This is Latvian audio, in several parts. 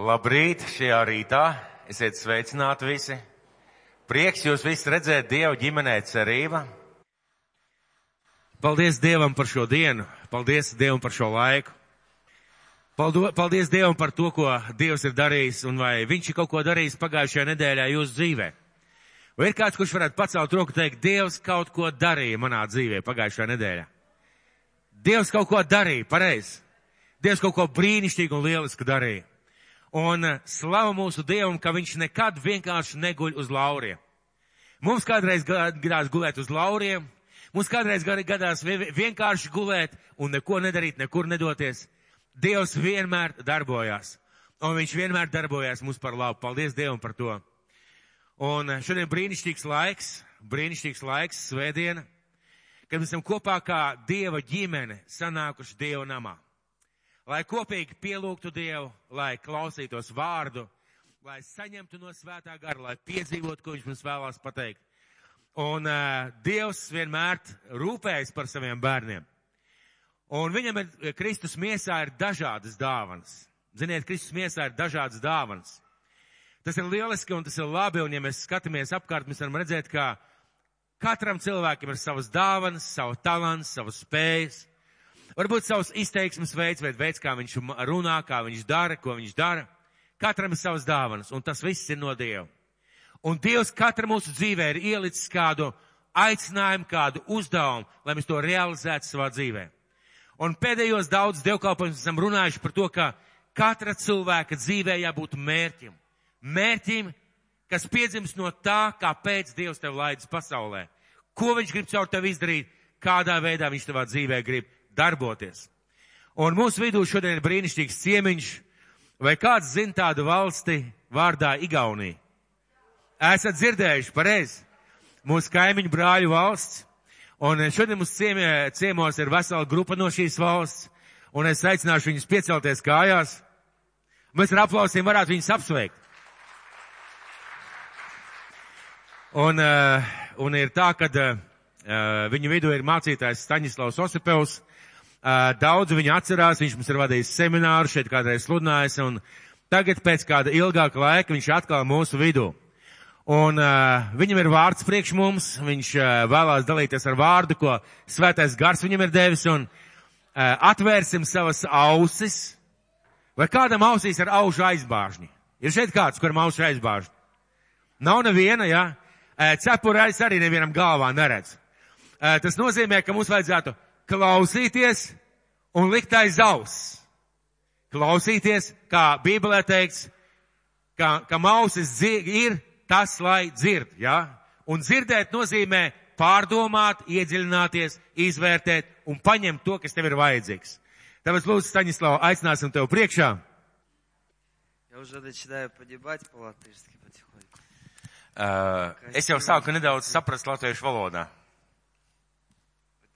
Labrīt šajā rītā! Esiet sveicināti visi! Prieks jūs visus redzēt Dievu ģimenē cerība. Paldies Dievam par šo dienu, paldies Dievam par šo laiku. Paldo, paldies Dievam par to, ko Dievs ir darījis un vai Viņš ir kaut ko darījis pagājušajā nedēļā jūsu dzīvē. Vai ir kāds, kurš varētu pacelt roku un teikt, Dievs kaut ko darīja manā dzīvē pagājušajā nedēļā? Dievs kaut ko darīja, pareizi. Dievs kaut ko brīnišķīgu un lielisku darīja. Un eh, slavu mūsu Dievam, ka viņš nekad vienkārši neguļ uz lauriem. Mums kādreiz gadās gulēt uz lauriem, mums kādreiz gadās vienkārši gulēt un neko nedarīt, nekur nedoties. Dievs vienmēr darbojās. Un viņš vienmēr darbojās mums par labu. Paldies Dievam par to. Un eh, šodien brīnišķīgs laiks, brīnišķīgs laiks, svētdiena, kad mēs esam kopā kā Dieva ģimene sanākuši Dieva namā lai kopīgi pielūgtu Dievu, lai klausītos vārdu, lai saņemtu no svētā gara, lai piedzīvotu, ko viņš mums vēlās pateikt. Un uh, Dievs vienmēr rūpējas par saviem bērniem. Un viņam ir Kristus miesā ir dažādas dāvanas. Ziniet, Kristus miesā ir dažādas dāvanas. Tas ir lieliski un tas ir labi, un ja mēs skatāmies apkārt, mēs varam redzēt, ka katram cilvēkam ir savas dāvanas, savu talants, savas spējas varbūt savs izteiksmes veids, vai veids, kā viņš runā, kā viņš dara, ko viņš dara. Katram ir savas dāvanas, un tas viss ir no Dieva. Un Dievs katra mūsu dzīvē ir ielicis kādu aicinājumu, kādu uzdevumu, lai mēs to realizētu savā dzīvē. Un pēdējos daudz dievkalpojumus esam runājuši par to, ka katra cilvēka dzīvē jābūt mērķim. Mērķim, kas piedzimst no tā, kāpēc Dievs tev laidis pasaulē. Ko viņš grib caur tevi izdarīt, kādā veidā viņš tavā dzīvē grib darboties. Un mūsu vidū šodien ir brīnišķīgs ciemiņš, vai kāds zina tādu valsti vārdā Igaunija? Esat dzirdējuši pareizi, mūsu kaimiņu brāļu valsts, un eh, šodien mums ciemie, ciemos ir vesela grupa no šīs valsts, un es aicināšu viņus piecelties kājās. Mēs ar aplausiem varētu viņus apsveikt. Un, eh, un ir tā, ka viņu vidū ir mācītājs Staņislavs Osipevs, Eh, daudz viņu atcerās, viņš mums ir vadījis semināru, šeit kādreiz sludinājis, un tagad pēc kāda ilgāka laika viņš atkal mūsu vidū. Un uh, viņam ir vārds priekš mums, viņš uh, vēlās dalīties ar vārdu, ko svētais gars viņam ir devis, un uh, atvērsim savas ausis. Vai kādam ausīs ir aužu aizbāžņi? Ir šeit kāds, kuram aužu aizbāžņi? Nav neviena, jā? Ja? Uh, Cepurēs arī nevienam galvā neredz. Uh, tas nozīmē, ka mums vajadzētu klausīties un likt aiz auss. Klausīties, kā Bībelē teikts, ka, ka mausis dzird, ir tas, lai dzird, ja? Un dzirdēt nozīmē pārdomāt, iedziļināties, izvērtēt un paņemt to, kas tev ir vajadzīgs. Tāpēc, lūdzu, Staņislav, aicināsim tev priekšā. Я уже начинаю понимать по-латышски потихоньку. Uh, es jau sāku nedaudz saprast latviešu valodā.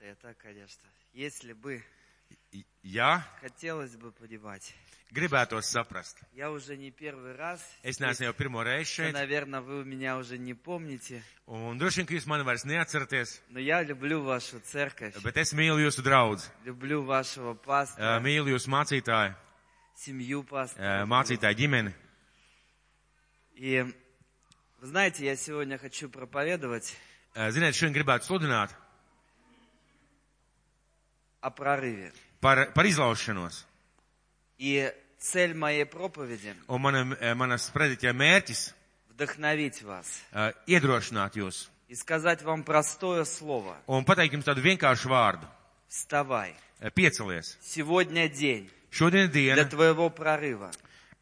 Это я так, конечно. Если бы Ja хотелось бы понимать. gribētos saprast, Я уже не первый раз. es neesmu jau pirmo reizi šeit, Наверное, вы меня уже не помните, un droši vien, ka jūs mani vairs neatceraties, но я люблю вашу церковь, bet es mīlu jūsu draugu, люблю вашего пастора, mīlu jūsu mācītāju, семью eh, пастора. mācītāju ģimeni. И вы знаете, я сегодня хочу проповедовать Eh, Ziniet, šodien gribētu sludināt о прорыве. par, par izlaušanos. И цель моей проповеди Un mana, manas sprediķa mērķis – вдохновить вас uh, iedrošināt jūs и сказать вам простое слово un pateikt jums tādu vienkāršu vārdu. «Вставай». Eh, Piecelies. Сегодня день Šodien ir diena, для твоего прорыва.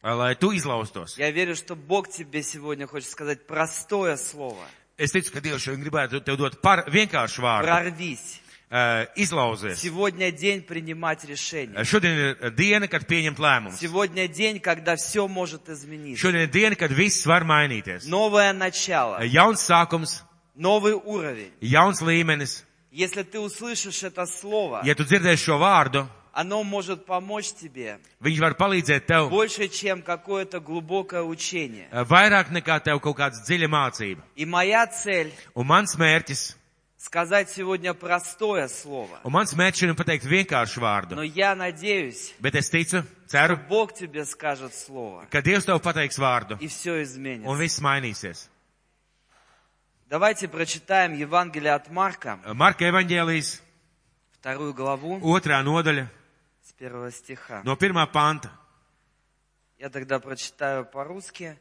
eh, lai tu izlaustos. Я верю, что Бог тебе сегодня хочет сказать простое слово. Es ticu, ka Dievs šodien gribētu tev dot par vienkāršu vārdu. Прорвись. Eh, Izlauzies. Сегодня день принимать Eh, решения. Šodien ir diena, kad pieņemt lēmumus. Сегодня день, когда все может измениться. Šodien ir diena, kad viss var mainīties. Новое Eh, начало, Jauns sākums, новый уровень. jauns līmenis. Если ты услышишь это слово, Ja tu dzirdēsi šo vārdu, оно может помочь тебе viņš var palīdzēt tev больше, чем какое-то глубокое учение. eh, vairāk nekā tev kaut kāds dziļa mācība. И моя цель Un mans mērķis сказать сегодня простое слово. Un mans mērķis ir jums pateikt vienkāršu Но vārdu. я надеюсь, Bet es ticu, ceru, Бог тебе skажет слово, ka Dievs tev pateiks vārdu. и все Un изменится. viss mainīsies. Давайте прочитаем Евангелие от Марка, Marka evaņģēlijas вторую главу, otrā nodaļa с первого стиха. no pirmā panta. Я тогда прочитаю по-русски.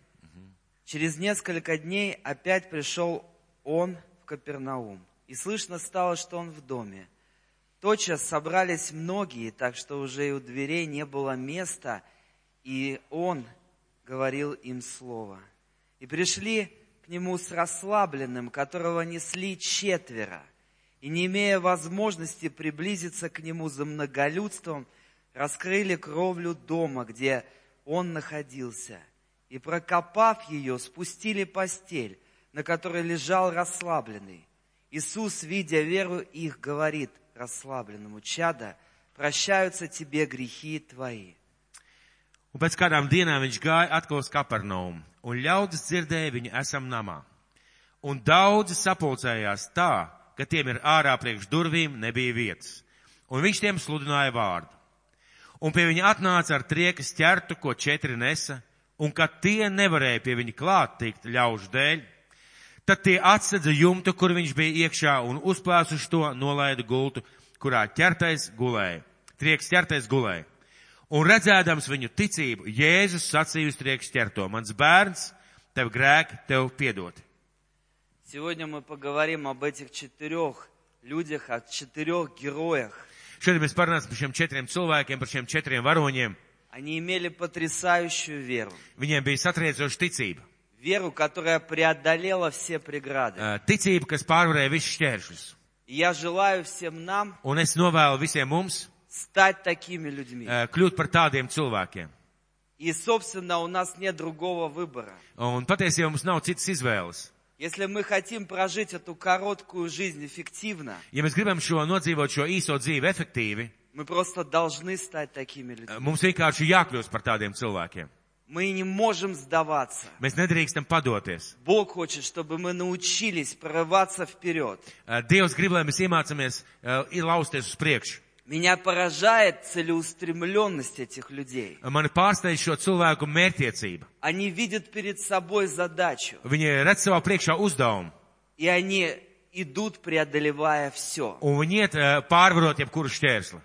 Через несколько дней опять пришел он в Капернаум, и слышно стало, что он в доме. Тотчас собрались многие, так что уже и у дверей не было места, и он говорил им слово. И пришли к нему с расслабленным, которого несли четверо, и не имея возможности приблизиться к нему за многолюдством, раскрыли кровлю дома, где он находился, и, прокопав ее, спустили постель, на которой лежал расслабленный. Иисус, видя веру их, говорит расслабленному, «Чада, прощаются тебе грехи твои». Un pēc kādām dienām viņš gāja atkal uz Kapernaumu, un ļaudis dzirdēja viņu esam namā. Un daudzi sapulcējās tā, ka tiem ir ārā priekš durvīm nebija vietas, un viņš tiem sludināja vārdu. Un pie viņa atnāca ar triekas ķertu, ko četri nesa, un kad tie nevarēja pie viņa klāt tikt ļaužu dēļ, tad tie atsedza jumtu, kur viņš bija iekšā, un uzplāsuši to nolaida gultu, kurā ķertais gulēja. Trieks ķertais gulēja. Un redzēdams viņu ticību, Jēzus sacīja uz trieks ķerto, mans bērns, tev grēki, tev piedoti. Сегодня мы поговорим об этих четырех людях, о четырех героях. Šodien mēs parunāsim par šiem četriem cilvēkiem, par šiem četriem varoņiem. Они имели потрясающую веру. Viņiem bija satriecoša ticība. Веру, которая преодолела все преграды. Ā, Ticība, kas pārvarēja visus šķēršļus. И я желаю всем нам Un es novēlu visiem mums стать такими людьми. ā, kļūt par tādiem cilvēkiem. И, собственно, у нас нет другого выбора. Un patiesībā mums nav citas izvēles. Если мы хотим прожить эту короткую жизнь эффективно, Ja mēs gribam šo nodzīvot šo īso dzīvi efektīvi, мы просто должны стать такими людьми. mums vienkārši jākļūst par tādiem cilvēkiem. Мы не можем сдаваться. Mēs nedrīkstam padoties. Бог хочет, чтобы мы научились прорываться вперед. Uh, Dievs grib, lai mēs iemācāmies uh, ir lausties uz priekšu. Меня поражает целеустремленность этих людей. Uh, Mani pārsteidz šo cilvēku mērķiecība. Они видят перед собой задачу, Viņi redz savā priekšā uzdevumu и они идут, преодолевая все. un viņi iet uh, pārvarot jebkuru šķērsli.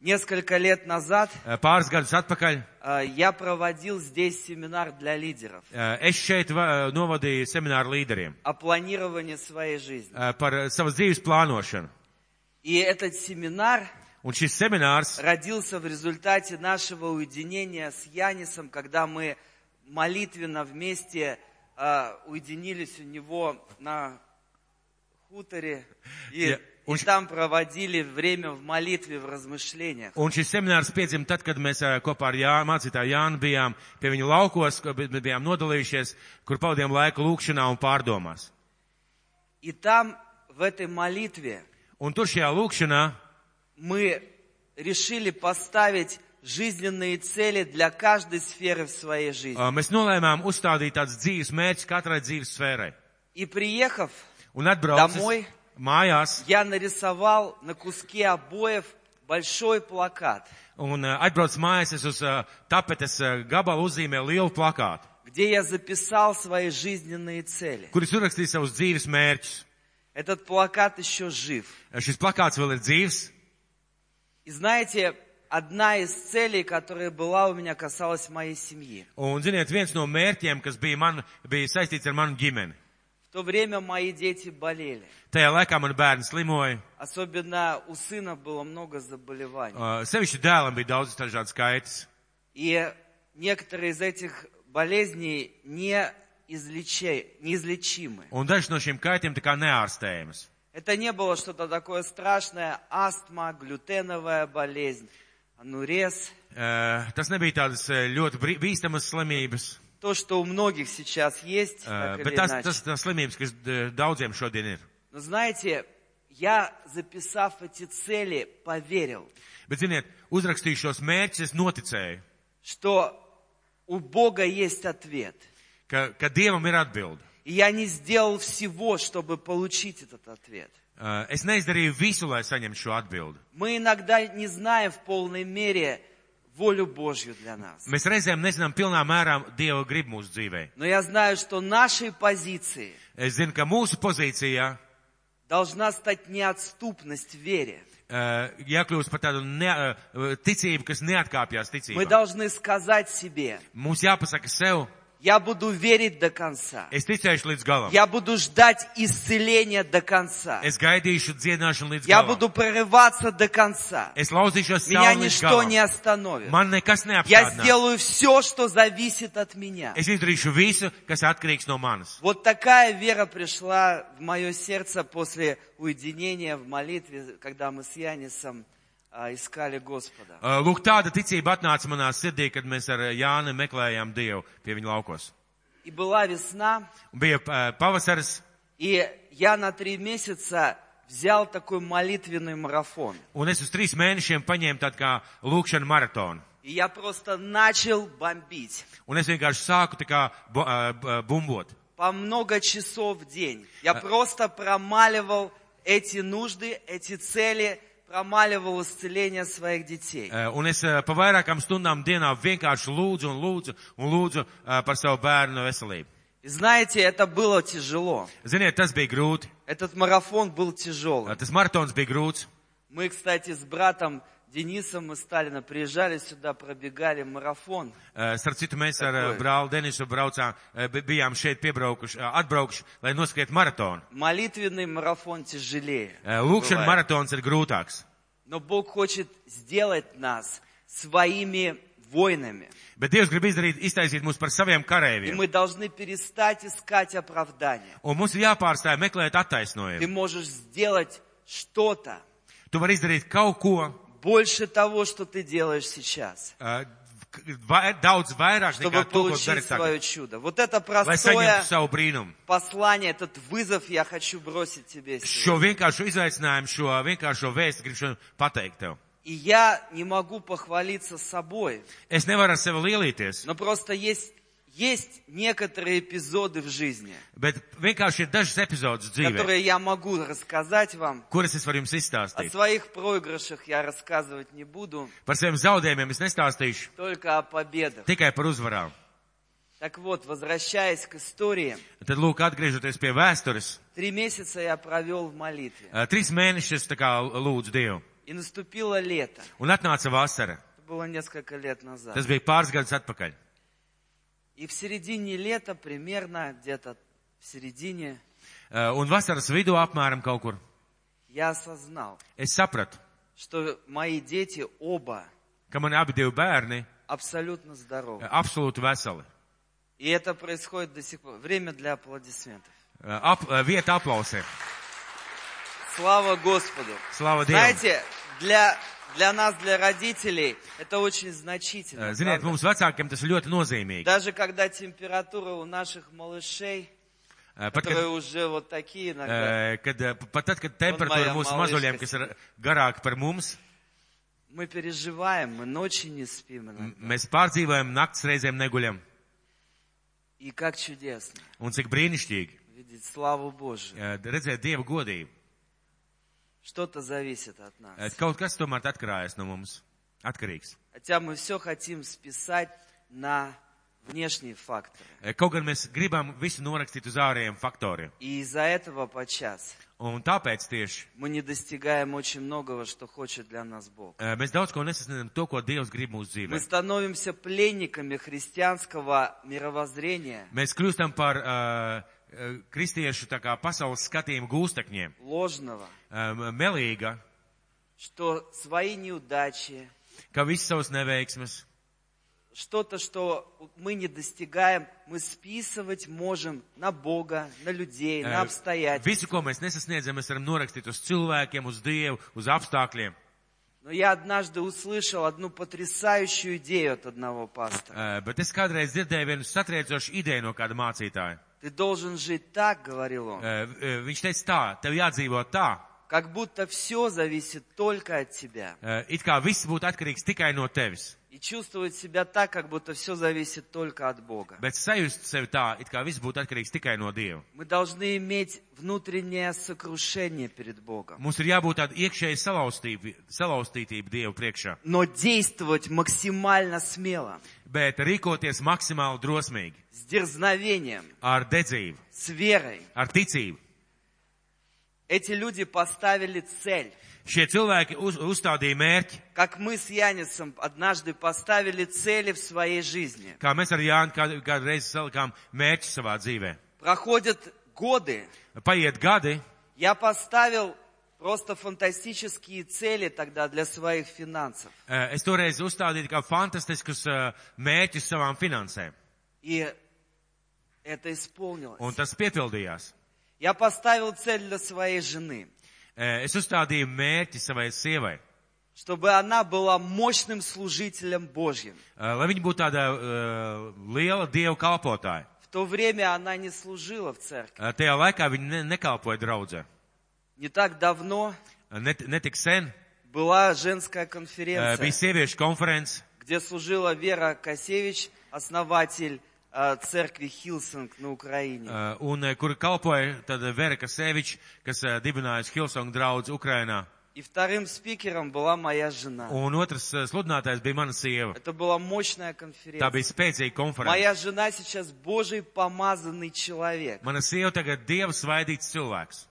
Несколько лет назад Uh, Pāris gadus atpakaļ uh, э, я проводил здесь семинар для лидеров eh, es šeit va- novadīju semināru līderiem о планировании своей жизни. uh, par uh, savas dzīves plānošanu. И этот семинар Un šis seminārs родился в результате нашего уединения с Янисом, когда мы молитвенно вместе э, уединились у него на хуторе и, Я- и очень- там проводили время в молитве, в размышлениях. Un šis seminārs piedzima tad, kad mēs ā, kopā ar Jā, mācītāju Jānu bijām pie viņa laukos, kur bi- bijām nodalījušies, kur pavadījām laiku lūkšanā un pārdomās. И там, в этой молитве, Un tur šajā eh, lūkšanā мы решили поставить жизненные цели для каждой сферы в своей жизни. ā, mēs nolēmām uzstādīt tāds dzīves mērķis katrai dzīves sfērai. И приехав, Un atbraucis Domoj? mājās я нарисовал на куске обоев большой плакат. un ā, atbraucis mājās, es uz ā, tapetes ā, gabalu uzzīmēju lielu plakātu, где я записал свои жизненные цели. kur es uzrakstīju savus dzīves mērķus. Uh, Этот плакат еще жив. Šis plakāts vēl ir dzīves. И знаете, одна из целей, которая была у меня, касалась моей семьи. Un, ziniet, viens no mērķiem, kas bija, man, bija saistīts ar manu ģimeni. В то время мои дети болели. Tajā laikā man bērni slimoja. Особенно у сына было много заболеваний. Uh, sevišķi dēlam bija daudz dažādas skaitas, И некоторые из этих болезней не излече- неизлечимы. un dažas no šīm kaitiem tā kā neārstējamas. Это не было что-то такое страшное. Астма, глютеновая болезнь, анурез. Uh, tas nebija tādas eh, ļoti brī- bīstamas slimības, То, что у многих сейчас есть, uh, так или bet tas, иначе. tas, tas slimības, kas eh, daudziem šodien ir. Но знаете, я, записав эти цели, поверил, Bet, ziniet, uzrakstīju šos mērķus, es noticēju, что у Бога есть ответ. ka, ka Dievam ir atbildi. И я не сделал всего, чтобы получить этот ответ. Uh, Es neizdarīju visu, lai saņemtu šo atbildi. Мы иногда не знаем в полной мере волю Божью для нас. Mēs reizēm nezinām pilnā mērā Dieva grib mūsu dzīvē. Но я знаю, что нашей позиции Es zinu, ka mūsu pozīcijā должна стать неотступность в вере. uh, jākļūst par tādu ne, uh, ticību, kas neatkāpjas Мы ticībā. должны сказать себе, Mums jāpasaka sev, я буду верить до конца. es ticēšu līdz galam. Я буду ждать исцеления до конца. Es gaidīšu dziedināšanu līdz Я galam. буду прорываться до конца. Es lauzīšos Меня sev līdz ничто не galam. остановит. Man nekas Я neapstādinās. сделаю все, что зависит от меня. Es izdarīšu visu, kas atkarīgs no manis. Вот такая вера пришла в мое сердце после уединения в молитве, когда мы с Янисом а, искали Господа. Uh, Lūk, tāda ticība atnāca manā sirdī, kad mēs ar uh, Jāni meklējām Dievu pie viņa laukos. И была весна, Un Bija uh, pavasaris, и я на три месяца взял такой молитвенный марафон. un es uz trīs mēnešiem paņēmu tādu kā lūkšanu maratonu. И я просто начал бомбить Un es vienkārši sāku tā kā bu, uh, bu- bumbot. по много часов в день. Я просто промаливал эти нужды, эти цели, промаливал исцеление своих детей. Uh, Un es uh, pa vairākām stundām dienā vienkārši lūdzu un lūdzu un lūdzu uh, par savu bērnu veselību. И знаете, это было тяжело. Ziniet, tas bija grūti. Этот марафон был Uh, тяжелым. Tas maratons bija grūts. Мы, кстати, с братом Денисом из Сталина приезжали сюда, пробегали марафон. Uh, Starp citu, mēs ar uh, Tako. brāli Denisu braucām, uh, bi- bijām šeit piebraukuši, uh, atbraukuši, lai noskriet maratonu. Молитвенный марафон тяжелее. Uh, Lūkšana Бывает. maratons ir grūtāks. Но Бог хочет сделать нас своими воинами. Bet Dievs grib izdarīt, iztaisīt mūs par saviem И kareiviem. мы должны перестать искать оправдания. Un mums ir jāpārstāj meklēt Ты attaisnojumu. можешь сделать что-то Tu vari izdarīt kaut ko больше того, что ты делаешь сейчас, uh, vai, daudz vairāk чтобы nekā to, ko tu получить dari tagad. свое чудо. Вот это Lai простое saņemtu savu brīnumu. послание, этот вызов я хочу бросить тебе сегодня. Šo vienkāršu izaicinājumu, šo vienkāršo vēstu gribu šodien pateikt tev. И я не могу похвалиться собой, Es nevaru ar sevi lielīties, но просто есть, есть некоторые эпизоды в жизни, bet vienkārši ir dažas epizodes dzīvē, которые я могу рассказать вам. kuras es varu jums О izstāstīt. своих проигрышах я рассказывать не буду, Par saviem zaudējumiem es nestāstīšu, только о победах. tikai par uzvarām. Так вот, возвращаясь к истории, Tad, lūk, atgriežoties pie vēstures, три месяца я провел в молитве. uh, trīs mēnešus tā kā lūdzu Dievu. И наступило лето. Un atnāca vasara. Это было несколько лет назад. Tas bija pāris gadus atpakaļ. И в середине лета, примерно где-то в середине, Uh, Un vasaras vidū apmēram kaut kur. я осознал, Es sapratu, что мои дети оба ka man abi divi bērni uh, абсолютно здоровы. absolūti veseli. И это происходит до сих пор. Время для аплодисментов. Uh, Ap, uh, vieta aplausiem. Слава Господу! Слава Dievam. Знаете, для, для нас, для родителей, это очень значительно. Uh, Ziniet, правда? mums vecākiem tas ir ļoti nozīmīgi. Даже когда температура у наших малышей, Uh, Pat, kad, которые уже вот такие иногда, uh, kad, uh, pat tad, kad Man temperatūra mājā mūsu malīškas. mazuļiem, kas ir garāka par mums, мы переживаем, мы ночи не спим. иногда. m- mēs pārdzīvojam naktas reizēm neguļam. И как чудесно Un cik brīnišķīgi видеть славу Божию. uh, redzēt Dieva godību. Что-то зависит от Uh, нас. Kaut kas tomēr atkarājas no mums. Atkarīgs. Хотя мы все хотим списать на внешние факторы. Eh, Kaut gan mēs gribam visu norakstīt uz ārējiem faktoriem. И из-за этого подчас Un tāpēc tieši мы не достигаем очень многого, что хочет для нас Бог. eh, mēs daudz ko nesasniedzam to, ko Dievs grib mūsu Мы dzīvē. становимся пленниками христианского мировоззрения, Mēs kļūstam par uh, kristiešu tā kā pasaules skatījumu gūstekņiem. ложного, Um, melīga, что свои неудачи, ka visas savas neveiksmes, что-то, что мы не достигаем, мы списывать можем на Бога, на людей, eh, на обстоятельства. visu, ko mēs nesasniedzam, mēs varam norakstīt uz cilvēkiem, uz Dievu, uz apstākļiem. Но я однажды услышал одну потрясающую идею от одного Eh, пастора. Bet es kādreiz dzirdēju vienu satriecošu ideju no kāda mācītāja. Ты должен жить так, говорил он, Eh, eh, Viņš teica tā, tev jādzīvo tā, как будто все зависит только от тебя. eh, it kā viss būtu atkarīgs tikai no tevis. И и чувствовать себя так, как будто все зависит только от Бога. bet sajust sevi tā, it kā viss būtu atkarīgs tikai no Dieva. Мы должны иметь внутреннее сокрушение перед Богом, Mums ir jābūt tāda iekšēja salaustība, salaustītība Dievu priekšā, но действовать максимально смело, bet rīkoties maksimāli drosmīgi, с дерзновением, ar dedzību, с верой. ar ticību. Эти люди поставили цель. Šie cilvēki uz, uzstādīja mērķi, Как мы с Янисом однажды поставили цели в своей жизни. kā mēs ar Jānu kādu, kādu reizi salikām mērķi savā dzīvē. Проходят годы. Paiet gadi, Я поставил просто фантастические цели тогда для своих финансов. eh, es toreiz uzstādīju kā fantastiskus eh, mērķus savām finansēm, И это исполнилось. un tas piepildījās. Я поставил цель для своей жены, Eh, Es uzstādīju mērķi savai sievai, чтобы она была mощным служителем Божьим. eh, lai viņa būtu tāda eh, liela dievu kalpotāja. В то время она не служила в церкви. Eh, Tajā laikā viņa ne- nekalpoja draudzē. Eh, Не так давно Net, netik sen была женская eh, bija конференция, sieviešu konference, где служила Вера Косевич, основатель э, церкви Хилсинг на Украине. eh, un eh, kur kalpoja tāda Vera Kaseviča, kas eh, dibinājusi Hilsong draudz Ukrainā. И вторым спикером была моя жена. Un otrs eh, sludinātājs bija mana sieva. Это была мощная Tā конференция. bija spēcīga konference. Моя жена сейчас Божий помазанный человек. Mana sieva tagad dievs svaidīts cilvēks.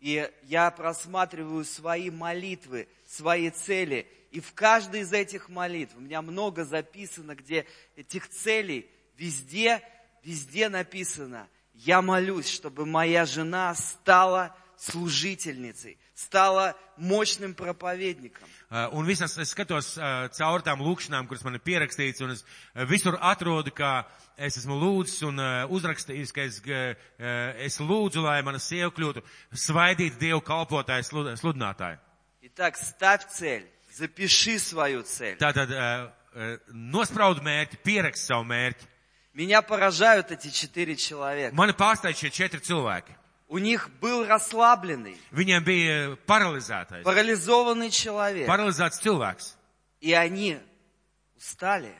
И я просматриваю свои молитвы, свои цели. И в каждой из этих молитв, у меня много записано, где этих целей, везде, везде написано. Я молюсь, чтобы моя жена стала служительницей, стала мощным проповедником. Eh, Un visas es skatos eh, caur tām lūkšanām, kuras man ir pierakstīts, un es eh, visur atrodu, ka es esmu lūdzis un eh, uzrakstījis, ka es, eh, eh, es lūdzu, lai mana sieva kļūtu svaidīta dievu kalpotāja, slu- sludinātāja. Итак, ставь цель, запиши свою цель. Tātad eh, eh, nospraud mērķi, pierakst savu mērķi. Меня поражают эти четыре человека. Mani pārsteidz šie četri cilvēki. У них был расслабленный, Viņiem bija paralizētais, парализованный человек. paralizēts cilvēks. И они устали,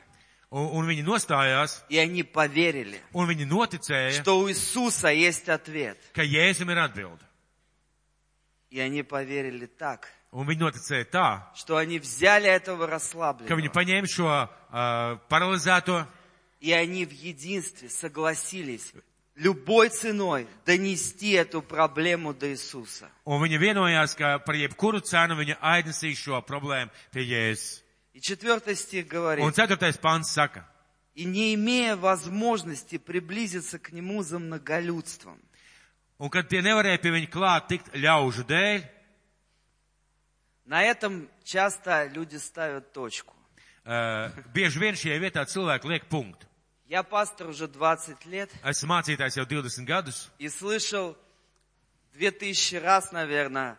Un, un viņi nostājās, и они поверили, un viņi noticēja, что у Иисуса есть ответ. ka Jēzum ir atbilde. И они поверили так, Un viņi noticēja tā, что они взяли ka этого viņi расслабленного, paņēma šo uh, paralizēto, и они в единстве согласились любой ценой донести эту проблему до Иисуса. un viņi vienojās, ka par jebkuru cenu viņi aiznesīs šo problēmu pie Jēzus. И четвертый стих говорит, Un ceturtais pants saka, и не имея возможности приблизиться к нему за многолюдством, un kad tie nevarēja pie viņa klāt tikt ļaužu dēļ, на этом часто люди ставят точку. uh, bieži vien šajā vietā cilvēki liek punktu. Я пастор уже 20 лет, Esmu mācītājs jau 20 gadus, и слышал две тысячи раз, наверное,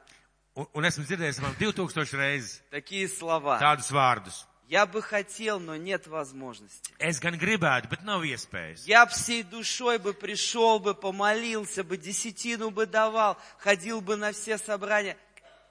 un, un esmu dzirdējis apmēram 2000 reizes такие слова. tādus vārdus. Я бы хотел, но нет возможности. Es gan gribētu, bet nav iespējas. Я б всей душой бы пришел бы, помолился бы, десятину бы давал, ходил бы на все собрания,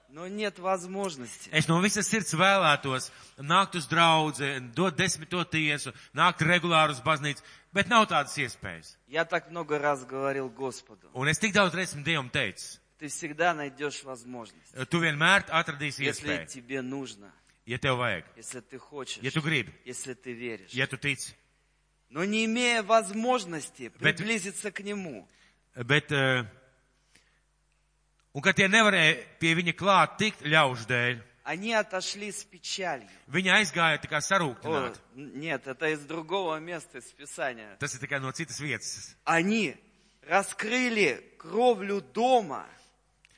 но нет возможности. Es no visas sirds vēlētos nākt uz draudzi, dot desmito tiesu, nākt regulāri uz baznīcu, bet nav tādas iespējas. Я так много раз говорил Господу, Un es tik daudz reizes Dievam teicu, ты всегда найдешь возможность, tu vienmēr atradīsi если iespēju, тебе нужно, ja tev vajag, если ты ja хочешь, tu gribi, если ты веришь. ja tu tici. Но не имея возможности приблизиться к Нему, Bet, eh, un kad tie nevarēja pie viņa klāt tikt ļaužu dēļ, они отошли с печалью. viņi aizgāja tā kā О, sarūktināti. н- нет, это из другого места, из Писания. Tas ir tikai no citas vietas. Они раскрыли кровлю дома,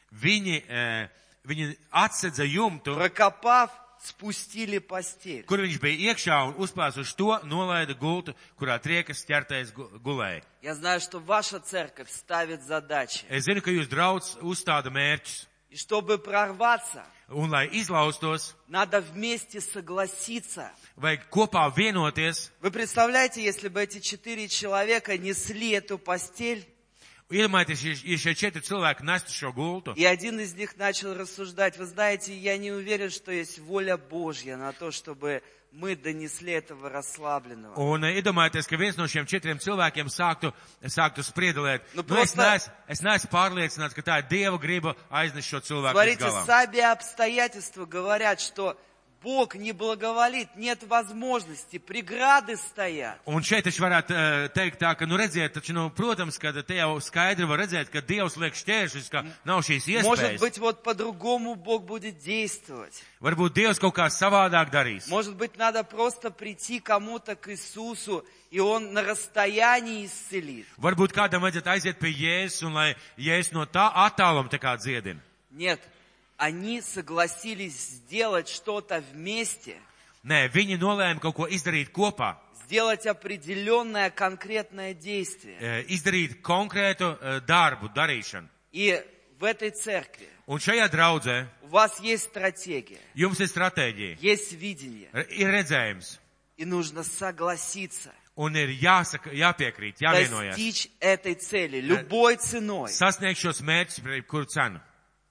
Viņi, eh, viņi atsedza jumtu, прокопав, спустили постель. kur viņš bija iekšā un uzpēsuši to, nolaida gultu, kurā triekas ķertais gu- gulēja. Я знаю, что ваша церковь ставит задачи. Es zinu, ka jūs draudz uzstāda mērķus, И чтобы прорваться, un lai izlaustos, надо вместе согласиться. vajag kopā vienoties, Вы представляете, если бы эти четыре человека несли эту постель, Iedomājieties, ja- ja šie četri cilvēki nestu šo gultu, И один из них начал рассуждать, вы знаете, я не уверен, что есть воля Божья на то, чтобы мы донесли этого расслабленного. un eh, iedomājieties, ka viens no šiem četriem cilvēkiem sāktu, sāktu spriedelēt. Nu, Nu, es, prosta- neesmu, es neesmu pārliecināts, ka tā ir Dieva griba aiznest šo cilvēku līdz Смотрите, galam. сами обстоятельства говорят, что Бог не благоволит, нет возможности, преграды стоят. Un šeit taču varētu eh, teikt tā, ka, nu redziet, taču, nu, protams, ka te jau skaidri var redzēt, ka Dievs liek šķēršļus, ka nav šīs Может iespējas. быть, вот по-другому Бог будет действовать. Varbūt Dievs kaut kā savādāk darīs. Может быть, надо просто прийти кому-то к Иисусу, и Он на расстоянии исцелит. Varbūt kādam vajadzētu aiziet pie Jēzus un lai Jēzus no tā attāluma tā kā dziedina. Нет, они согласились сделать что-то вместе, Nē, viņi nolēma kaut ko izdarīt kopā, сделать определенное конкретное действие. eh, izdarīt konkrētu eh, darbu, darīšanu. И в этой церкви Un šajā draudzē у вас есть стратегия, jums ir stratēģija, есть видение, r- ir redzējums и нужно согласиться, un ir jāsaka, jāpiekrīt, jāvienojas. достичь этой цели любой ценой, Sasniegt šos mērķus par jebkuru cenu.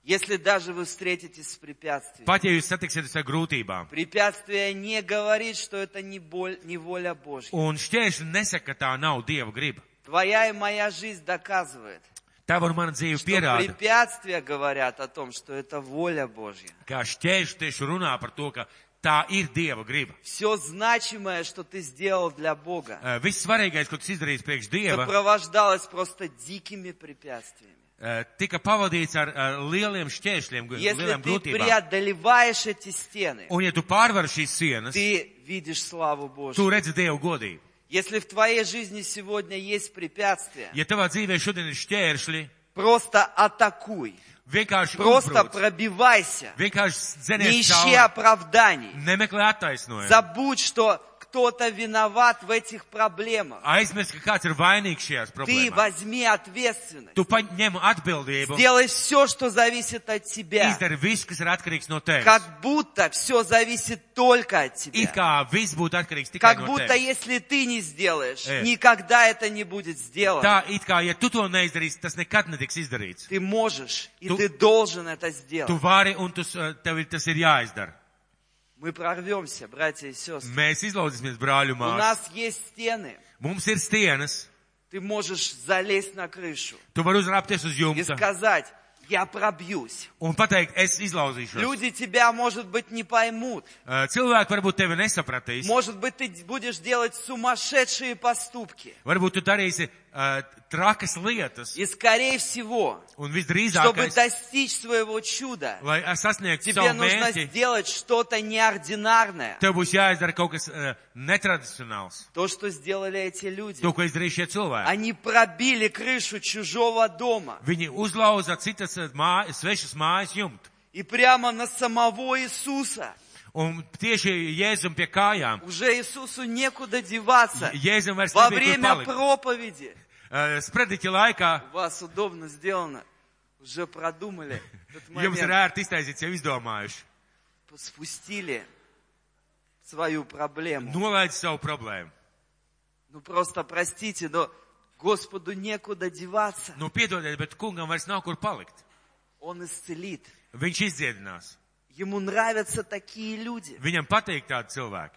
если даже вы встретитесь с препятствием. Pat ja jūs satiksieties ar grūtībām. Препятствие не говорит, что это не, боль, не воля Божья. Un šķēršļi nesaka, ka tā nav Dieva griba. Твоя и моя жизнь доказывает, Tā var mana dzīve что pierāda, препятствия говорят о том, что это воля Божья. kā šķēršļi tieši runā par to, ka tā ir Dieva griba. Все значимое, что ты сделал для Бога, Eh, Viss svarīgais, ko tu izdarīji priekš Dieva, сопровождалось просто дикими препятствиями. eh, tika pavadīts ar eh, lieliem šķēršļiem, gu- Если lielām ты grūtībām. преодолеваешь эти стены, Un ja tu pārvar šīs sienas, ты видишь славу tu Божью. redzi Dievu godību. Если в твоей жизни сегодня есть препятствия, Ja tavā dzīvē šodien ir šķēršļi, просто атакуй, vienkārši просто uzbrūc, пробивайся, vienkārši не dzenies ищи cauri, оправданий, nemeklē attaisnojumu. забудь, что кто-то виноват в этих проблемах. Aizmirst, ka kāds ir vainīgs šajās Ты problēmās. возьми ответственность, Tu paņem atbildību, сделай все, что зависит от тебя. izdari visu, kas ir atkarīgs no tevis. Как будто все зависит только от It тебя. kā viss būtu atkarīgs tikai Как no будто tevis. если ты не сделаешь, Э. никогда это не будет сделано. Tā, it kā, ja tu to neizdarīsi, tas nekad netiks izdarīts. Ты можешь и Ту- ты должен это Tu сделать. vari un tu, s- eh, tev ir- tas ir jāizdara. Мы прорвемся, братья и сестры. Mēs izlauzīsimies brāļu У māsu. нас есть стены. Mums ir stienas. Ты можешь залезть на крышу Tu vari uzrāpties uz и jumta сказать, я пробьюсь. un pateikt, es izlauzīšos. Люди тебя, может быть, не поймут. Uh, Cilvēki varbūt tevi nesapratīs. Может быть, ты будешь делать сумасшедшие поступки. Varbūt tu darīsi uh, trakas lietas. И, скорее всего, Un чтобы visdrīzāk, достичь своего чуда, lai es sasniegtu Тебе savu нужно mērķi, сделать что-то неординарное. tev būs jāizdara kaut kas uh, netradicionāls. То, что сделали эти люди. To, ko izdarīja šie cilvēki. Они пробили крышу чужого дома. Viņi uzlauza citas eh, mā, svešas mājas jumtu. И прямо на самого Иисуса. Un tieši Jēzum pie kājām. Уже Иисусу некуда деваться. Jēzum vairs nebija Во kur время palikt. проповеди. Eh, Sprediķa laikā У вас удобно сделано. Уже продумали этот jums ir момент. ērti iztaisīts, jau izdomājuši. Спустили свою проблему. Nolaidz savu problēmu. Ну просто простите, но Господу некуда деваться. Nu, piedodiet, bet kungam vairs nav kur palikt. Он исцелит. Viņš izdziedinās. Ему нравятся такие люди. Viņam patīk tādi cilvēki.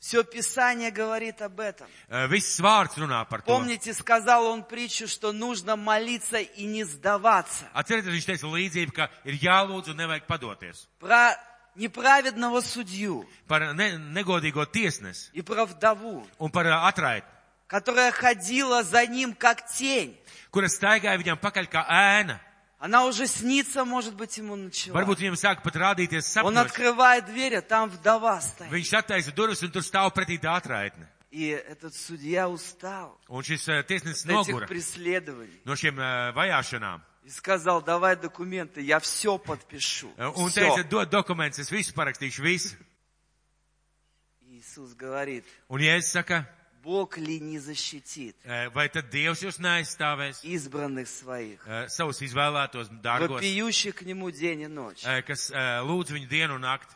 Все Писание говорит об этом. Eh, Viss vārds runā par to. Помните, сказал он притчу, что нужно молиться и не сдаваться. Atcerieties, viņš teica līdzību, ka ir jālūdz un nevajag padoties. Про неправедного судью Par ne, negodīgo tiesnesi и про вдову, un par eh, atraitni, которая ходила за nим как тень. kuras staigāja viņam pakaļ kā ēna. Она уже снится, может быть, ему начала. Varbūt viņam sāk pat rādīties Он sapnis. открывает дверь, а там вдова стоит. Viņš attaisa durvis un tur stāv pretī tā atraitne. И этот судья устал Un šis eh, tiesnesis от этих nogura преследований. no šiem eh, vajāšanām. И сказал, давай документы, я все подпишу. Eh, Un Всё. teica, dod dokumentus, es visu parakstīšu, visu. Иисус говорит, Un Jēzus saka, Бог ли не защитит eh, vai tad Dievs jūs neaizstāvēs избранных своих, eh, savus izvēlētos dārgos, вопиющих к Нему день и ночь? eh, kas eh, lūdz viņu dienu un nakti?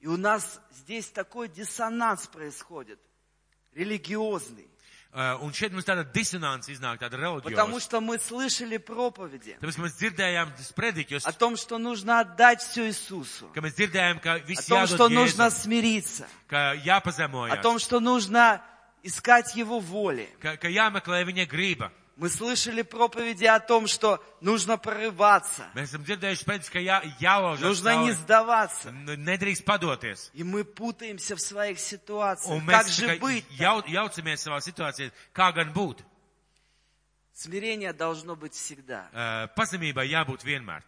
И у нас здесь такой диссонанс происходит, религиозный. Eh, Uh, un šeit mums tāda disonance iznāk, tāda Потому reliģija. что мы слышали проповеди Tāpēc, ka mēs dzirdējām sprediķus, о том, что нужно отдать все Иисусу, ka mēs dzirdējām, ka о viss том, что jādod нужно Jēzum, смириться, ka о jāpazemojas, том, что нужно искать Его воли. ka, ka jāmeklē viņa grība. Мы слышали проповеди о том, что нужно прорываться, Mēs esam dzirdējuši sprediķus, ka jā, jālaužas. нужно cauri, не сдаваться. n- Nedrīkst padoties. И мы путаемся в своих ситуациях. Un Как mēs же быть? jau, jaucamies savā situācijā, kā gan būt. Смирение должно быть всегда, Uh, Pazemībai jābūt vienmēr.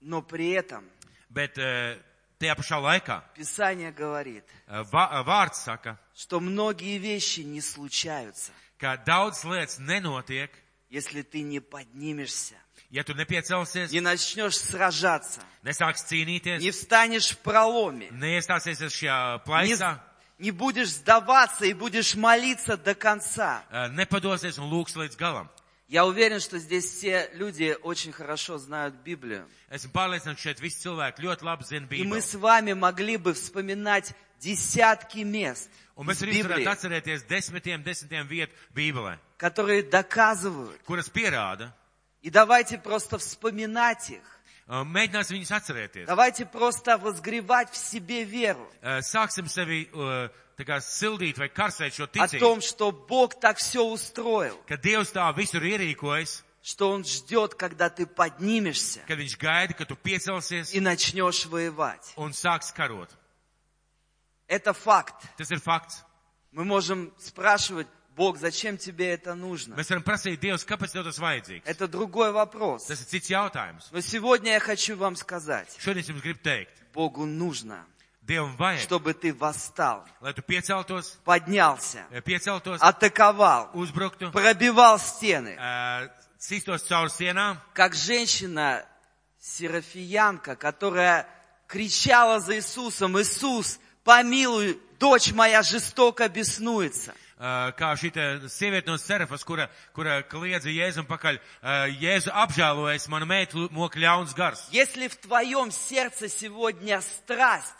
но при этом Bet uh, tajā pašā laikā Писание говорит, uh, va- uh, vārds saka, что многие вещи не случаются, ka daudz lietas nenotiek, если ты не поднимешься, ja tu nepiecelsies, не начнешь сражаться, nesāks cīnīties, не встанешь в проломе, neiestāsies šajā не, plaisā, не будешь сдаваться и будешь молиться до конца. uh, nepadosies un lūks līdz galam. Я уверен, что здесь все люди очень хорошо знают Библию. Esmu pārliecināts, ka šeit visi cilvēki ļoti labi zina И мы Bībeli. с вами могли бы вспоминать десятки мест Un mēs из arī varētu Библии, atcerēties desmitiem, desmitiem vietu Bībelē, которые доказывают. kuras pierāda. И давайте просто вспоминать их. Uh, Mēģināsim viņus atcerēties. Давайте просто возгревать в себе веру Uh, Sāksim sevi uh, tā kā sildīt vai karsēt šo о ticību, том, что Бог так все ustроил, ka Dievs tā visur ierīkojas, что Он ждет, когда ты поднимешься kad viņš gaida, ka tu piecelsies и начнешь воевать. un sāks karot. Это факт. Tas ir fakts. Мы можем спрашивать, Бог, зачем тебе это нужно? Mēs varam prasīt Dievs, kāpēc tev tas vajadzīgs. Это другой вопрос. Tas ir cits jautājums. Но сегодня я хочу вам сказать, Šodien es jums gribu teikt, Богу нужно, Dievam vajag, чтобы ты восстал, lai tu pieceltos, поднялся, eh, pieceltos, атаковал, uzbruktu, пробивал стены. eh, cīstos caur sienām, Как женщина-серафиянка, которая кричала за Иисусом, «Иисус, помилуй, дочь моя жестоко беснуется». eh, kā šī te sieviete no Serafas, kura, kura kliedza Jēzum pakaļ, eh, Jēzu apžēlojas, manu meitu mok ļauns gars. Если в твоем сердце сегодня страсть,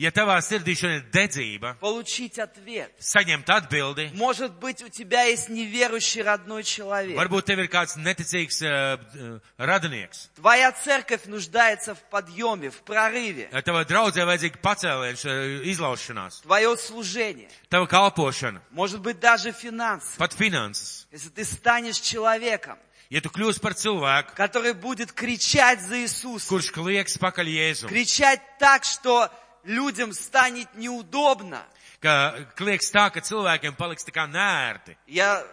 Ja tavā sirdī šodien ir dedzība, получить ответ. saņemt atbildi, Может быть, у тебя есть неверующий родной человек. varbūt tev ir kāds neticīgs uh, radinieks. Твоя церковь нуждается в подъеме, в прорыве. Eh, Tava draudzē vajadzīga pacēlienš, eh, izlaušanās, Твое служение, tava kalpošana, может быть, даже финансы. pat finanses. Если ты станешь человеком, Ja tu kļūsi par cilvēku, который будет кричать за Иисуса, kurš kliedz pakaļ Jēzum, кричать так, что людям станет неудобно. ka kliedz tā, ka cilvēkiem paliks tā kā nērti. Я э,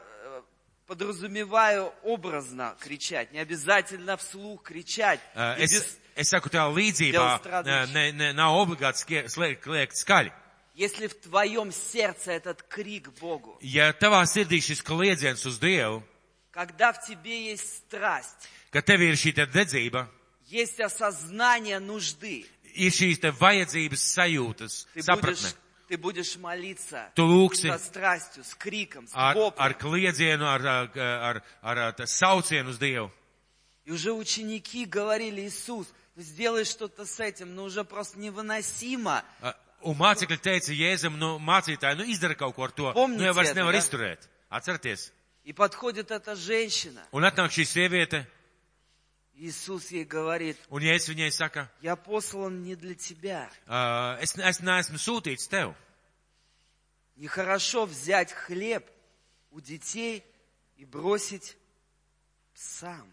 подразумеваю образно кричать, не обязательно вслух кричать. Eh, И Es, без- es saku tā Dievs līdzībā, eh, strādājuši. ne, ne, nav obligāti skie- slie- kliegt skaļi. Если в твоем сердце этот крик Богу, Ja tavā sirdī šis kliedziens uz Dievu, когда в тебе есть страсть, ka tev ir šī te dedzība, есть осознание нужды, ir šīs te vajadzības sajūtas, ты sapratne. будешь, ты будешь молиться Tu lūksi со страстью, с криком, с ar, ar воплем. kliedzienu, ar, ar, ar, ar, ar tā saucienu uz Dievu. И уже ученики говорили, Иисус, ну сделай что-то с этим, ну уже просто невыносимо. Uh, Un mācekļi teica Jēzum, nu, mācītāji, nu, izdara kaut ko ar to. Pomniet Nu, jau vairs to, nevar jā. izturēt. Atcerieties. И подходит эта женщина. Un atnāk šī sieviete, Иисус ей говорит, un Jēzus viņai saka, я послан не для тебя. uh, es, es neesmu sūtīts tev. Нехорошо взять хлеб у детей и бросить псам.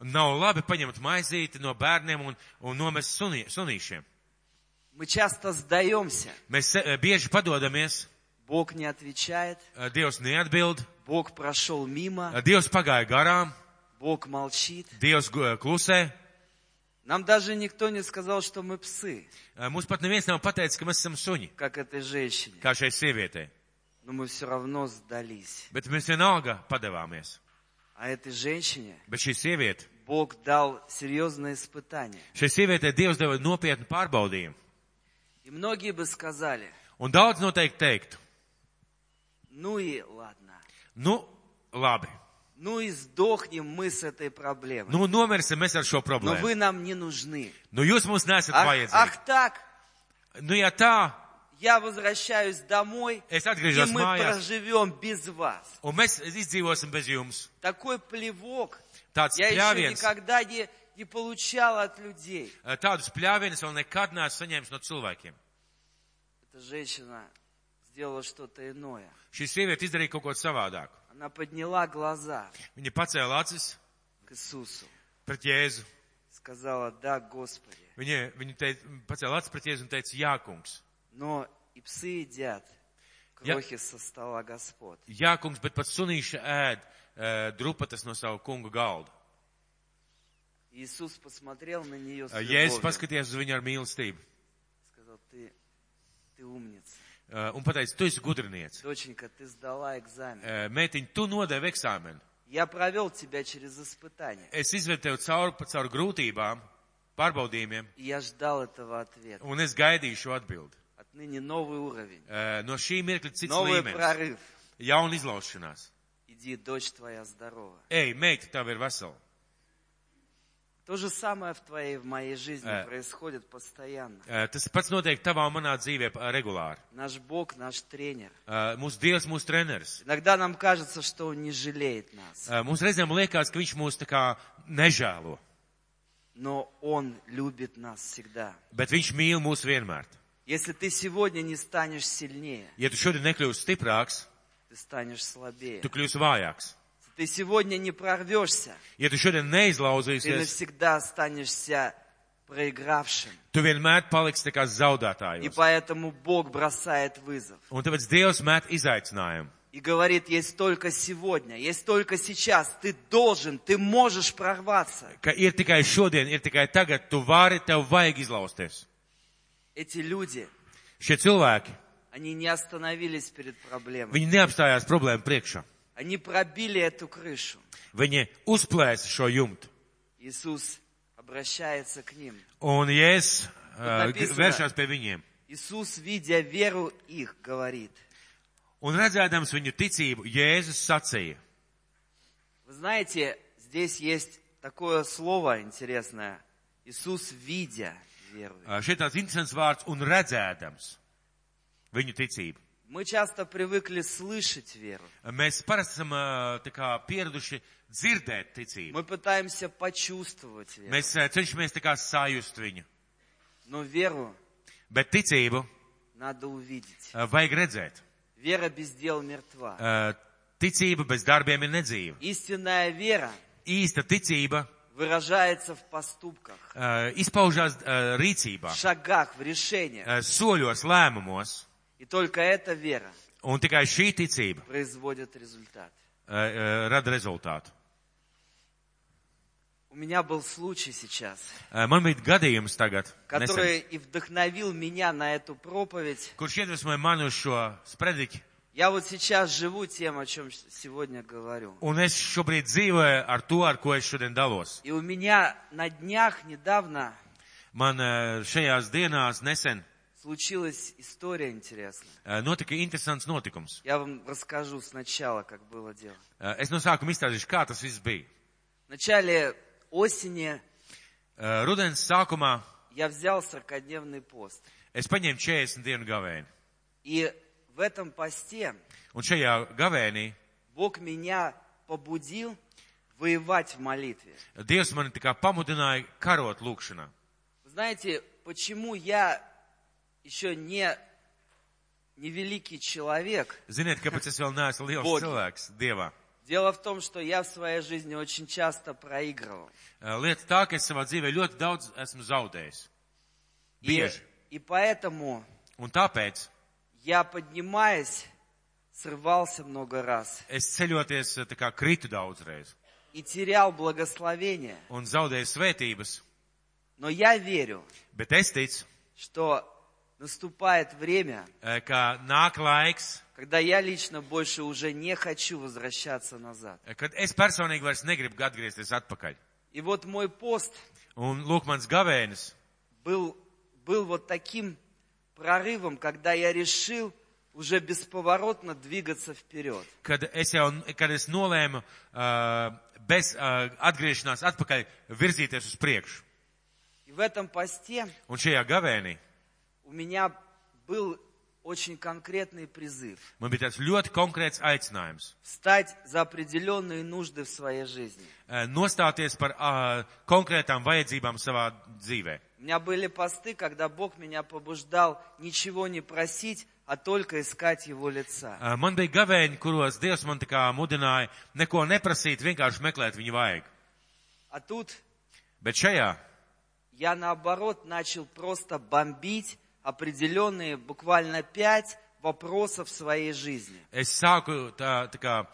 Nav labi paņemt maizīti no bērniem un, un nomest sunī, sunīšiem. Мы часто сдаемся. Mēs se- bieži padodamies, Бог не отвечает, uh, Dievs neatbild, Бог прошел мимо, uh, Dievs pagāja garām, Бог молчит. Dievs gu- eh, klusē. Нам даже никто не сказал, что мы псы, Uh, Mums pat neviens nav pateicis, ka mēs esam suņi, как этой женщине. kā šai sievietei. Но мы все равно сдались. Bet mēs vienalga padevāmies. А этой женщине Bet šī sieviete, Бог дал серьезное испытание. šai sievietei Dievs deva nopietnu pārbaudījumu. И многие бы сказали, Un daudz noteikti teiktu, ну и ладно, nu, labi, ну и сдохнем мы с этой проблемой. nu, nomirsim mēs ar šo Но problēmu. вы нам не нужны. Nu, jūs mums nesat Ах, vajadzīgi. ах так, Nu, ja tā, я возвращаюсь домой, Es и atgriežos мы mājās, проживем без вас. un mēs izdzīvosim bez jums. Такой плевок Tāds я еще pļāviens, eh, никогда не, не получала от людей. tādus pļāvienus vēl nekad neesmu saņēmis no cilvēkiem. Эта женщина сделала что-то иное. Šī sieviete izdarīja kaut ko savādāk. Она подняла глаза Viņa pacēla acis к Иисусу. pret Jēzu. Сказала, да, Господи, Viņa, viņa teica, pacēla acis pret Jēzu un teica, jā, kungs. но и псы едят Я- крохи со стола Господ. Jā, kungs, bet pat sunīša ēd e, drupatas no savu kungu galda. Иисус посмотрел на нее с E, Jēzus любовью. paskatījās uz viņu ar mīlestību e, Сказал, ты, ты умница. eh, un pateica, tu esi gudriniec. Доченька, ты сдала экзамен. E, Mētiņ, tu nodevi eksāmenu. Я провел тебя через испытание. Es izvedu tev cauri, pa- cauri grūtībām, pārbaudījumiem, И я ждал этого ответа. un es gaidīju šo atbildi. Отныне новый уровень, E, No šī mirkļa cits новый līmenis. прорыв. Jauna izlaušanās. Иди, дочь твоя здорова. Ej, meita, tev ir vesela. То же самое в твоей, в моей жизни Э. происходит постоянно. E, Tas pats notiek tavā un manā dzīvē e, regulāri. Наш Бог, наш тренер. E, Mūsu Dievs, mūsu treneris. Иногда нам кажется, что Он не жалеет нас, E, Mums reizēm liekas, ka viņš mūs tā kā nežēlo, но Он любит нас всегda. bet viņš mīl mūs vienmēr. Если ты сегодня не станешь сильнее, Ja tu šodien nekļūsi stiprāks, ты stanешь слабее. tu kļūsi vājāks. Если ты сегодня не прорвешься, Ja tu šodien ты neizlauzīsies, навсегда останешься проигравшим. tu vienmēr paliksi tā kā И zaudētājs. поэтому Бог бросает вызов Un tāpēc Dievs mēt izaicinājumu. и говорит, есть только сегодня, есть только сейчас, ты должен, ты можешь прорваться. Ka ir tikai šodien, ir tikai tagad, tu vari, tev vajag izlausties. Эти люди, Šie cilvēki, они не остановились перед проблемой. viņi neapstājās problēmu priekšā. Они пробили эту крышу. Viņi uzplēsa šo jumtu. Иисус обращается к ним. Un Jēzus Tad uh, napisana. vēršās pie viņiem. Иисус, видя веру их, говорит. Un redzēdams viņu ticību, Jēzus sacīja. eh, Вы знаете, здесь есть такое слово интересное. Иисус, видя веру. их». Uh, šeit tāds interesants vārds un redzēdams viņu ticību. Мы часто привыкли слышать веру. Mēs parasti esam uh, tā kā pieraduši dzirdēt ticību. Мы пытаемся почувствовать веру. Mēs uh, cenšamies tā kā sajust viņu. Но веру Bet ticību uh, надо увидеть. vajag redzēt. Вера без дел мертва. Uh, Ticība bez darbiem ir nedzīva. Истинная вера Īsta ticība выражается в поступках, uh, izpaužās uh, в rīcībā, шагах, в решениях. uh, soļos, lēmumos. И только эта вера Un tikai šī ticība производит результат. uh, uh, rada rezultātu. У меня был случай сейчас, Uh, Man bija gadījums tagad, nesen, который и вдохновил меня на эту проповедь. kurš iedvesmoja mani uz šo sprediķi, Я вот сейчас живу тем, о чем с- сегодня говорю. un es šobrīd dzīvoju ar to, ar ko es šodien dalos. И у меня на днях недавно Man uh, šajās dienās nesen случилась история интересная. uh, notika interesants notikums. Я вам расскажу сначала, как было дело. Uh, Es no sākuma izstāstīšu, kā tas viss bija. В начале осени Uh, Rudens sākumā я взял 40-дневный пост. es paņēmu 40 dienu gavēni, И в этом посте un šajā gavēnī Бог меня побудил воевать в молитве. Dievs mani tā kā pamudināja karot lūkšanā. Вы Знаете, почему я еще не, не великий человек? Ziniet, kāpēc es vēl neesmu liels Bogi. cilvēks Dievā? Дело в том, что я в своей жизни очень часто проигрывал. Uh, Lieta tā, ka es savā dzīvē ļoti daudz esmu zaudējis. И, Bieži. и поэтому Un tāpēc я, поднимаясь, срывался много раз es ceļoties eh, tā kā kritu daudzreiz и терял благословение. un zaudēju svētības, Но я верю, bet es ticu, что наступает время, eh, ka nāk laiks, когда я лично больше уже не хочу возвращаться назад. eh, kad es personīgi vairs negribu atgriezties atpakaļ. И вот мой пост Un lūk, mans gavēnis был, был вот таким прорывом, когда я решил уже бесповоротно двигаться вперед. kad es jau, kad es nolēmu uh, bez uh, atgriešanās atpakaļ virzīties uz priekšu. И в этом посте Un šajā gavēnī у меня был очень конкретный призыв Man bija tāds ļoti konkrēts aicinājums встать за определенные нужды в своей жизни. eh, nostāties par ā, konkrētām vajadzībām savā dzīvē. У меня были посты, когда Бог меня побуждал ничего не просить, а только искать Его лица. Eh, Man bija gavēņi, kuros Dievs man tā kā mudināja neko neprasīt, vienkārši meklēt viņu vajag. А тут Bet šajā я, наоборот, начал просто бомбить определенные, буквально пять вопросов своей жизни. es sāku tā, tā kā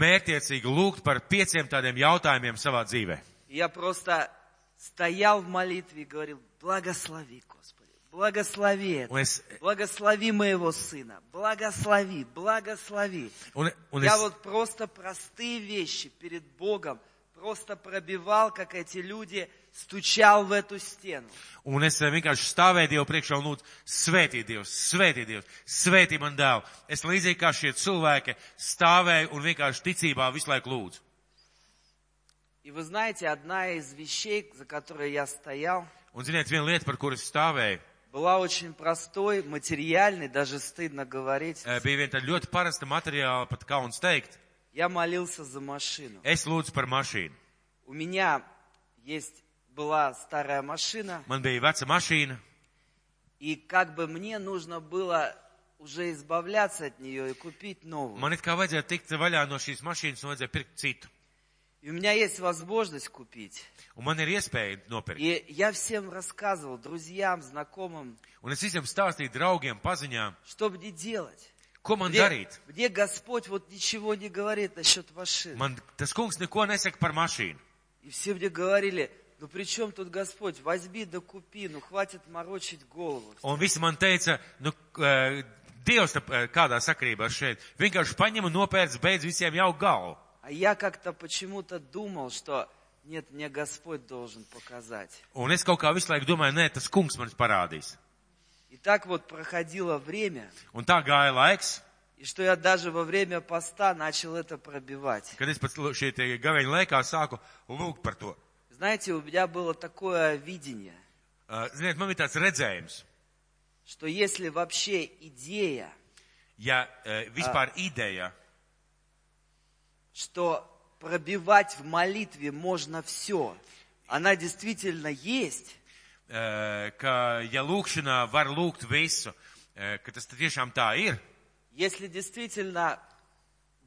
mērķiecīgi lūgt par pieciem tādiem jautājumiem savā dzīvē. И я просто стоял в молитве и говорил, благослови, Господи, благослови это, Un es, благослови моего сына, благослови, благослови. un, un Я es, вот просто простые вещи перед Богом просто пробивал, как эти люди, стучал в эту стену. un es eh, vienkārši stāvēju Dievu priekšā un lūdzu, svētī Dievs, svētī Dievs, svētī man dēlu. Es līdzīgi kā šie cilvēki stāvēju un vienkārši ticībā visu laiku lūdzu. И вы знаете, одна из вещей, за которой я стоял, Un ziniet, viena lieta, par kuru es stāvēju, была очень простой, материальной, даже стыдно говорить. eh, bija viena tāda ļoti parasta materiāla, pat kauns teikt. Я молился за машину. Es lūdzu par mašīnu. У меня есть была старая машина, Man bija veca mašīna, и как бы мне нужно было уже избавляться от нее и купить новую. man it kā vajadzēja tikt vaļā no šīs mašīnas un vajadzēja pirkt citu. И у меня есть возможность kупить. Un man ir iespēja nopirkt. И я всем рассказывал, друзьям, знакомым, Un es visiem stāstīju draugiem, paziņām, что мне делать. ko man Где, darīt. где Господь вот ничего не говорит насчет машин. Man tas kungs neko nesaka par mašīnu. И все мне говорили, ну при чем тут Господь? Возьми да купи, ну хватит морочить голову. Un visi man teica, nu, eh, Dievs tap- eh, kādā sakrībā šeit. Vienkārši paņem un nopērc beidz visiem jau galvu. А я как-то почему-то думал, что нет, мне Господь должен показать. Un es kaut kā visu laiku domāju, nē, tas kungs man parādīs. И так вот проходило время, Un tā gāja laiks, и что я даже во время поста начал это пробивать. kad es pats šie tie gaveņu laikā sāku lūgt par to. Знаете, у меня было такое видение, Eh, Ziniet, man ir tāds redzējums, что если вообще идея ja eh, vispār ideja, что пробивать в молитве можно все. Она действительно есть. eh, ka ja lūkšanā var lūgt visu, eh, ka tas tiešām tā ir, Если действительно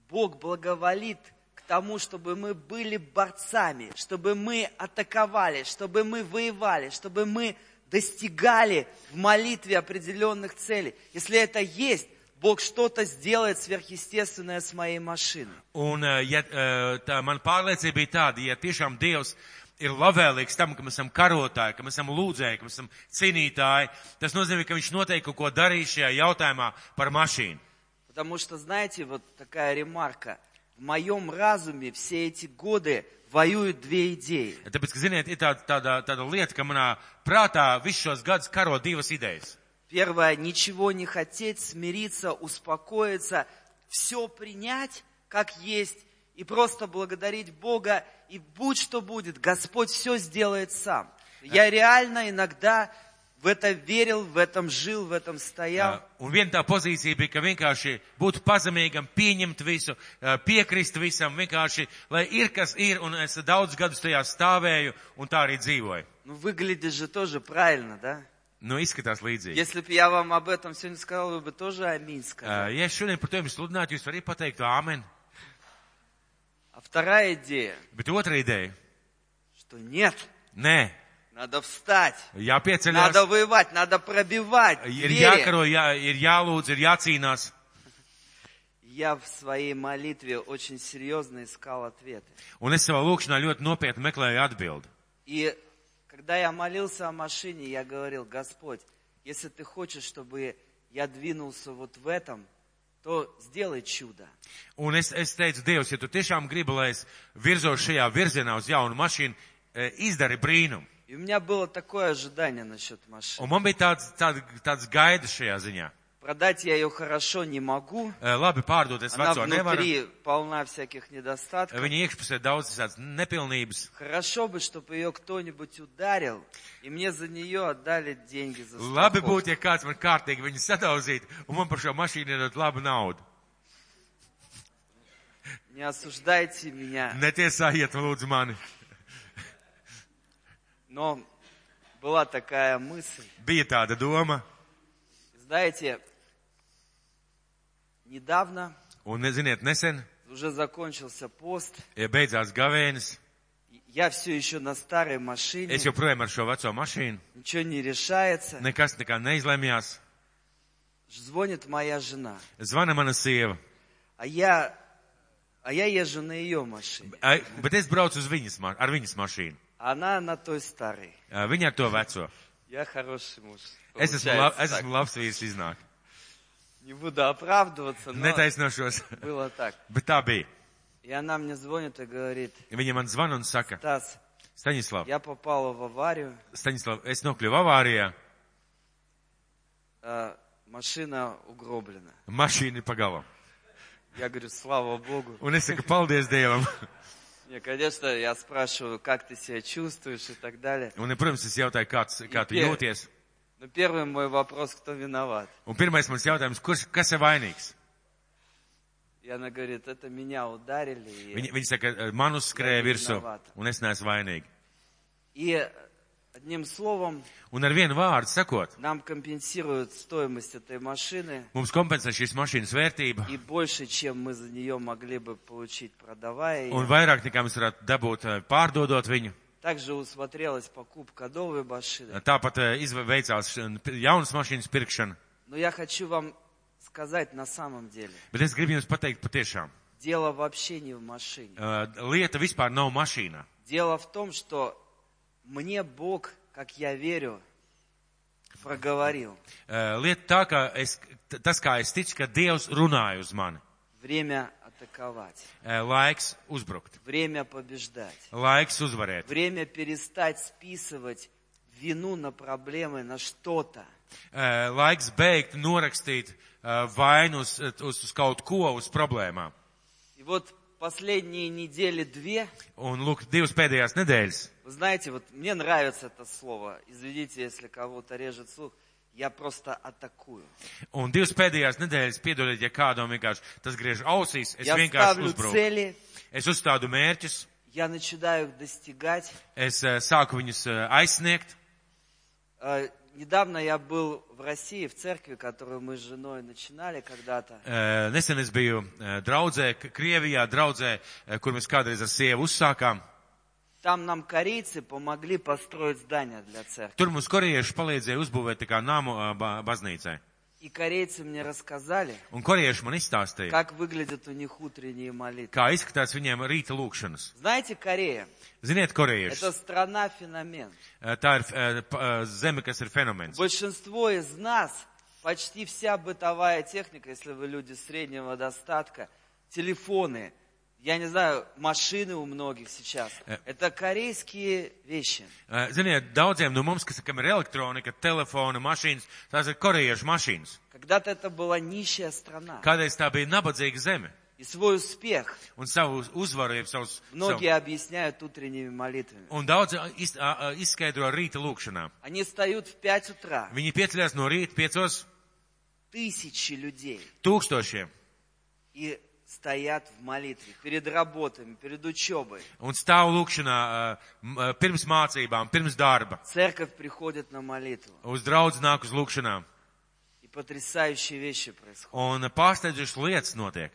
Бог благоволит к тому, чтобы мы были борцами, чтобы мы атаковали, чтобы мы воевали, чтобы мы достигали в молитве определенных целей. Если это есть, Бог что-то сделает сверхъестественное с моей машиной. Un, eh, ja, eh, tā man pārliecība bija tāda, ja tiešām Dievs ir labvēlīgs tam, ka mēs esam karotāji, ka mēs esam lūdzēji, ka mēs esam cīnītāji, tas nozīmē, ka viņš noteikti kaut ko darīs šajā jautājumā par mašīnu. Потому что, знаете, вот такая ремарка. В моем разуме все эти годы воюют две идеи. Tāpēc, ka, ziniet, ir tāda, tāda, tāda lieta, ka manā prātā visus šos gadus karo divas idejas. Первое, ничего не хотеть, смириться, успокоиться, все принять как есть и просто благодарить Бога. И будь что будет, Господь все сделает сам. Я реально иногда в это верил, в этом жил, в этом стоял. Eh, Un viena tā pozīcija bija, ka vienkārši būt pazemīgam, pieņemt visu, eh, piekrist visam, vienkārši, lai ir kas ir, un es daudz gadus tajā stāvēju un tā arī dzīvoju. Ну, выглядит же тоже правильно, да? Nu, izskatās līdzīgi. Если бы я вам об этом сегодня сказал, вы бы тоже аминь сказали. Uh, Ja es šodien par to jums sludinātu, jūs varat pateikt āmen. А вторая идея, Bet otra ideja что нет, - nē, надо встать, надо jāpieceļās, воевать, надо пробивать ir двери. jākaro, jā, ir jālūdz, ir jācīnās. Я в своей молитве очень серьезно искал ответы. Un es savā lūkšanā ļoti nopietni meklēju atbildi. И когда я молился о машине, я говорил, Господь, если ты хочешь, чтобы я двинулся вот в этом, то сделай чудо. Un es, es teicu, Dievs, ja tu tiešām gribi, lai es virzos šajā virzienā uz jaunu mašīnu, eh, izdari brīnumu. И у меня было такое ожидание насчет машины. Un man bija tāds, tāds, tāds gaida šajā ziņā. Продать я ее хорошо не могу. Eh, Labi pārdot, es Она veco nevaru. внутри полна всяких недостатков. Viņa iekšpusē daudz tādas nepilnības. Хорошо бы, чтобы ее кто-нибудь ударил, и мне за нее отдали деньги за Labi страховку. būtu, ja kāds man kārtīgi viņu sadauzītu, un man par šo mašīnu iedot labu naudu. Не осуждайте меня, Netiesājiet, lūdzu, mani. но была такая мысль. Bija tāda doma, Знаете, недавно un, ziniet, nesen уже закончился пост. ja beidzās gavēnis. Я все еще на старой машине. Es joprojām ar šo veco mašīnu. Ничего не решается. Nekas tā kā neizlēmjās. Звонит моя жена. Zvana mana sieva, А я, а я езжу на ее машине. Ai, bet es braucu uz viņas, ma- ar viņas mašīnu. а Она на той старой. Ā, Viņa ar to veco. Я хороший муж. Es esmu, lab, Получается es так. esmu labs vīrs iznāk. Не буду оправдываться, но Netaisnošos, было так. bet tā bija. И она мне звонит и говорит, Viņa man zvana un saka, Тас, Staņislav, я попала в аварию, Staņislav, es nokļuvu avārijā, а, машина угроблена. mašīna ir pagalam. Я говорю, слава богу. Un es saku, paldies Dievam. Не, конечно, я спрашиваю, как ты себя чувствуешь и так далее. Un, protams, es jautāju, kāds, kā tu Ie. jūties. Но первый мой вопрос, кто виноват? Un pirmais mans jautājums, kurš, kas ir vainīgs? И она говорит, это меня ударили. и- Viņi, viņi saka, "Eh, man uzskrēja Jā, virsū, vīnovāta. un es neesmu vainīgi. И э, одним словом, Un ar vienu vārdu sakot, нам компенсируют стоимость этой машины mums kompensē šīs mašīnas vērtība, и больше, чем мы за нее могли бы получить, продавая ее. un vairāk nekā mēs varētu dabūt eh, pārdodot viņu. Также усмотрелась покупка новой машины. Tāpat eh, izve- veicās eh, jaunas mašīnas pirkšana. Но я хочу вам сказать на самом деле, Bet es gribu jums pateikt patiešām, дело вообще не в машине. eh, lieta vispār nav mašīnā. Дело в том, что мне Бог, как я верю, проговорил. Eh, Lieta tā, ka es, t- tas, kā es ticu, ka Dievs runāja uz mani. Время атаковать, Eh, Laiks uzbrukt, время побеждать, laiks uzvarēt. время перестать списывать вину на проблемы, на что-то. Eh, laiks beigt norakstīt eh, vainu uz, uz, uz kaut ko, uz problēmām. И вот последние недели две, Un, lūk, divas pēdējās nedēļas. вы знаете, вот мне нравится это слово, извините, если кого-то режет слух, я просто атакую. Un divas pēdējās nedēļas, piedodiet, ja kādam vienkārši tas griež ausīs, es я vienkārši ставлю uzbruku. цели, Es uzstādu mērķus, я начинаю их достигать. es eh, sāku viņus eh, aizsniegt. Э, Недавно я был в России, в церкви, которую мы с женой начинали когда-то. Eh, Nesen es biju eh, draudzē, K- Krievijā, draudzē, eh, kur mēs kādreiz ar sievu uzsākām. Там нам корейцы помогли построить здание для церкви. Tur mums korieši palīdzēja uzbūvēt tā kā nāmu eh, ba- baznīcai. И корейцы мне рассказали, Un korieši man izstāstīja, как выглядят у них утренние молитвы. kā izskatās viņiem rīta lūkšanas. Знаете, Корея Ziniet, – korieši, это страна-феномен. tā ir eh, p- eh, zeme, kas ir fenomens. Большинство из нас, почти вся бытовая техника, если вы люди среднего достатка, телефоны, я не знаю, машины у многих сейчас, Э. это корейские вещи. Eh, Ziniet, daudziem no mums, kas kam ir elektronika, telefona, mašīnas, tās ir koriešu mašīnas. Когда-то это была нищая страна. Kādreiz tā bija nabadzīga zeme. И свой успех Un savu uzvaru, jeb savus. многие объясняют утренними молитвами. Un daudz iz, a- a- izskaidro ar rīta lūkšanā. Они встают в 5 утра, Viņi pieceļās no rīta piecos тысячи людей, tūkstošiem и стоят в молитве перед работами, перед учебой. un stāv lūkšanā eh, m- eh, pirms mācībām, pirms darba. Церковь приходит на молитву, Uz draudz nāk uz lūkšanām. и потрясающие вещи происходят. Un eh, pārsteidzošas lietas notiek.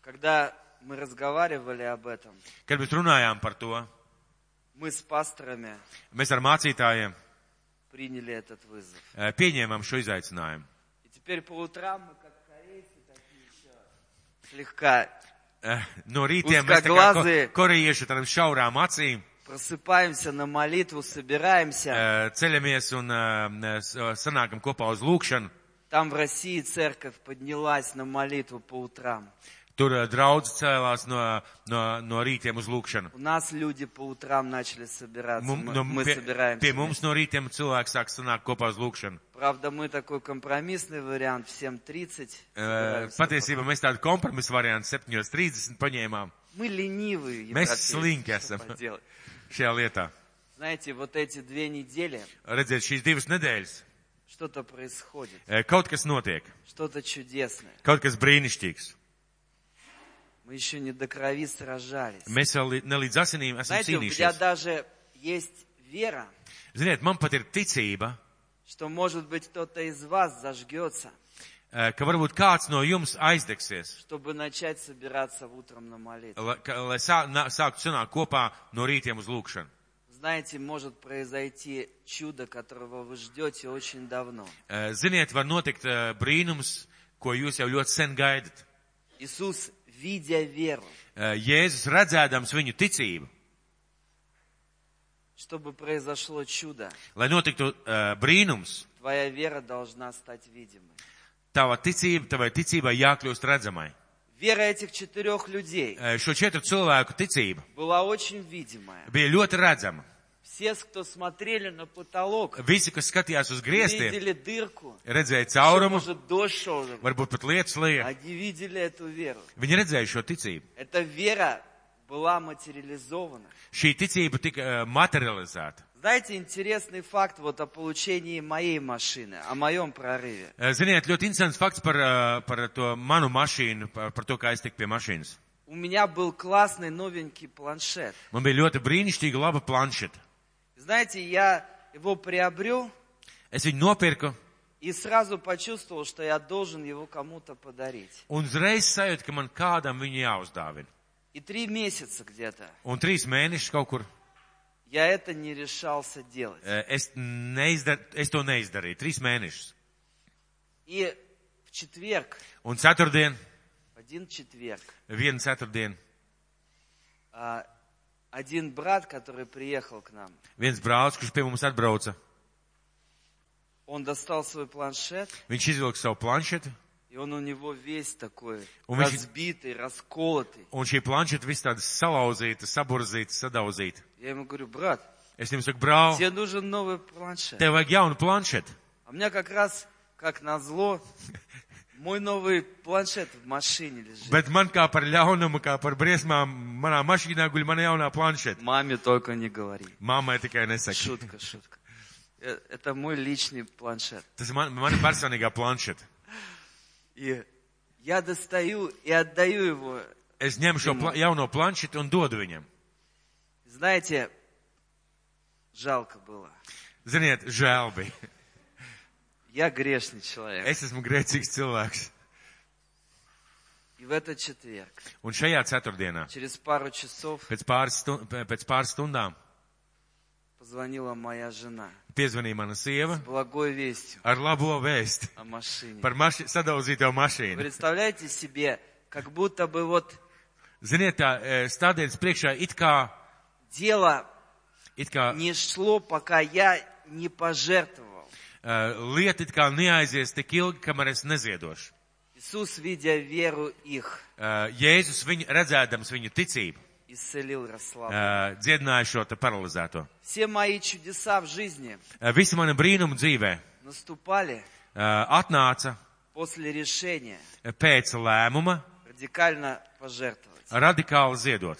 Когда мы разговаривали об этом, Kad mēs runājām par to, мы с пасторами mēs ar mācītājiem приняли этот вызов. eh, pieņēmām šo izaicinājumu. И теперь по утрам мы как корейцы такие еще слегка Eh, No rītiem mēs tā kā ko- korejieši ar tādām šaurām acīm просыпаемся на молитву, собираемся. eh, ceļamies un eh, s- sanākam kopā uz lūkšanu. Там в России церковь поднялась на молитву по утрам. Tur ā, draudz cēlās no, no, no rītiem uz lūkšanu. У нас люди по утрам начали собираться. Mum, Мы, no, мы pie, собираемся. pie mums no rītiem cilvēki sāk sanākt kopā uz lūkšanu. Правда, мы такой компромиссный вариант в 7.30. Э, Ā, собираемся. Eh, Patiesībā mēs tādu kompromisu variantu 7.30 paņēmām Мы ленивые. Mēs европейцы, slinki что esam. поделать. šajā lietā. Знаете, вот эти две недели Redziet, šīs divas nedēļas что-то происходит, ā, kaut kas notiek, что-то чудесное. kaut kas brīnišķīgs. Мы еще не до крови сражались. Mēs vēl li- ne līdz asinīm esam Знаете, у меня cīnījušies. даже есть вера, Ziniet, man pat ir ticība, что, может быть, кто-то из вас зажгется, ā, e, ka varbūt kāds no jums aizdegsies, чтобы начать собираться утром на молитву. la- ka- lai sā, nā- sāktu sanākt kopā no rītiem uz lūkšanu. Знаете, может произойти чудо, которого вы ждете очень давно. Ā, E, Ziniet, var notikt ā, brīnums, ko jūs jau ļoti sen gaidat. Иисус, видя веру, Ā, Jēzus redzēdams viņu ticību, чтобы произошло чудо, lai notiktu ā, brīnums, твоя вера должна стать видимой. tava ticība, tavai ticībai jākļūst redzamai. Вера этих четырех людей Ā, Šo četru cilvēku ticība была очень видимая. bija ļoti redzama. Все, кто смотрели на потолок, Visi, kas skatījās uz griestiem, видели дырку, redzēja что, caurumu, может, дождь шел, varbūt pat lietas lejā. Они видели эту веру. Viņi redzēja šo ticību. Эта вера была материализована. Šī ticība tika ā, materializēta. Знаете, интересный факт вот о получении моей машины, о моем прорыве. Ā, Eh, Ziniet, ļoti interesants fakts par, ā, par to manu mašīnu, par, par to, kā es tiku pie mašīnas. У меня был классный новенький планшет. Man bija ļoti brīnišķīga laba planšeta. Знаете, я его приобрел Es viņu nopirku и сразу почувствовал, что я должен его кому-то подарить. un uzreiz sajūtu, ka man kādam viņu jāuzdāvina. И три месяца где-то Un trīs mēnešus kaut kur я это не решался делать. eh, es, neizdar, es to neizdarīju. Trīs mēnešus. И в четверг, Un ceturtdien, один четверг, viena ceturtdien, а, один брат, который приехал к нам, viens brālis, kurš pie mums atbrauca, он достал свой планшет, viņš izvilka savu planšetu. и он у него весь такой Он вообще- разбитый, расколотый. Un šī planšeta viss tāda salauzīta, saburzīta, sadauzīta. Я ему говорю, брат, Es jums saku, brāl, тебе нужен новый планшет. tev vajag jaunu planšetu. А у меня как раз, как назло, мой новый планшет в машине лежит. Bet man kā par ļaunumu, kā par briesmām, manā mašīnā guļ mana jaunā planšeta. Маме только не говори. Mammai tikai nesaka. Шутка, шутка. Э, Это мой личный планшет. Tas man, man ir personīgā planšeta. И я достаю и отдаю его. Es ņemu šo pla jauno planšetu un dodu viņam. Знаете, жалко было. Ziniet, žēl bija. Я грешный человек. Es esmu grēcīgs cilvēks. И в этот четверг, Un šajā ceturtdienā, через пару часов, pēc pāris, stu pēc pāris stundām, позвонила моя жена piezvanīja mana sieva с благой вестью ar labo vēsti о машине. par maši sadauzīto mašīnu. Представляете себе, как будто бы вот Ziniet, tā e, stādienas priekšā it kā, дело it kā не шло, пока я не pожертвовал. e, lieta it kā neaizies tik ilgi, kamēr es neziedošu. Иисус, видя веру их, E, Jēzus viņu redzēdams viņu ticību исцелил Ярослава. e, dziedināja šo te paralizēto. Все мои чудеса в жизни E, Visi mani brīnumi dzīvē e, наступали atnāca e, после решения pēc lēmuma радикально пожертвовать. А- radikāli ziedot.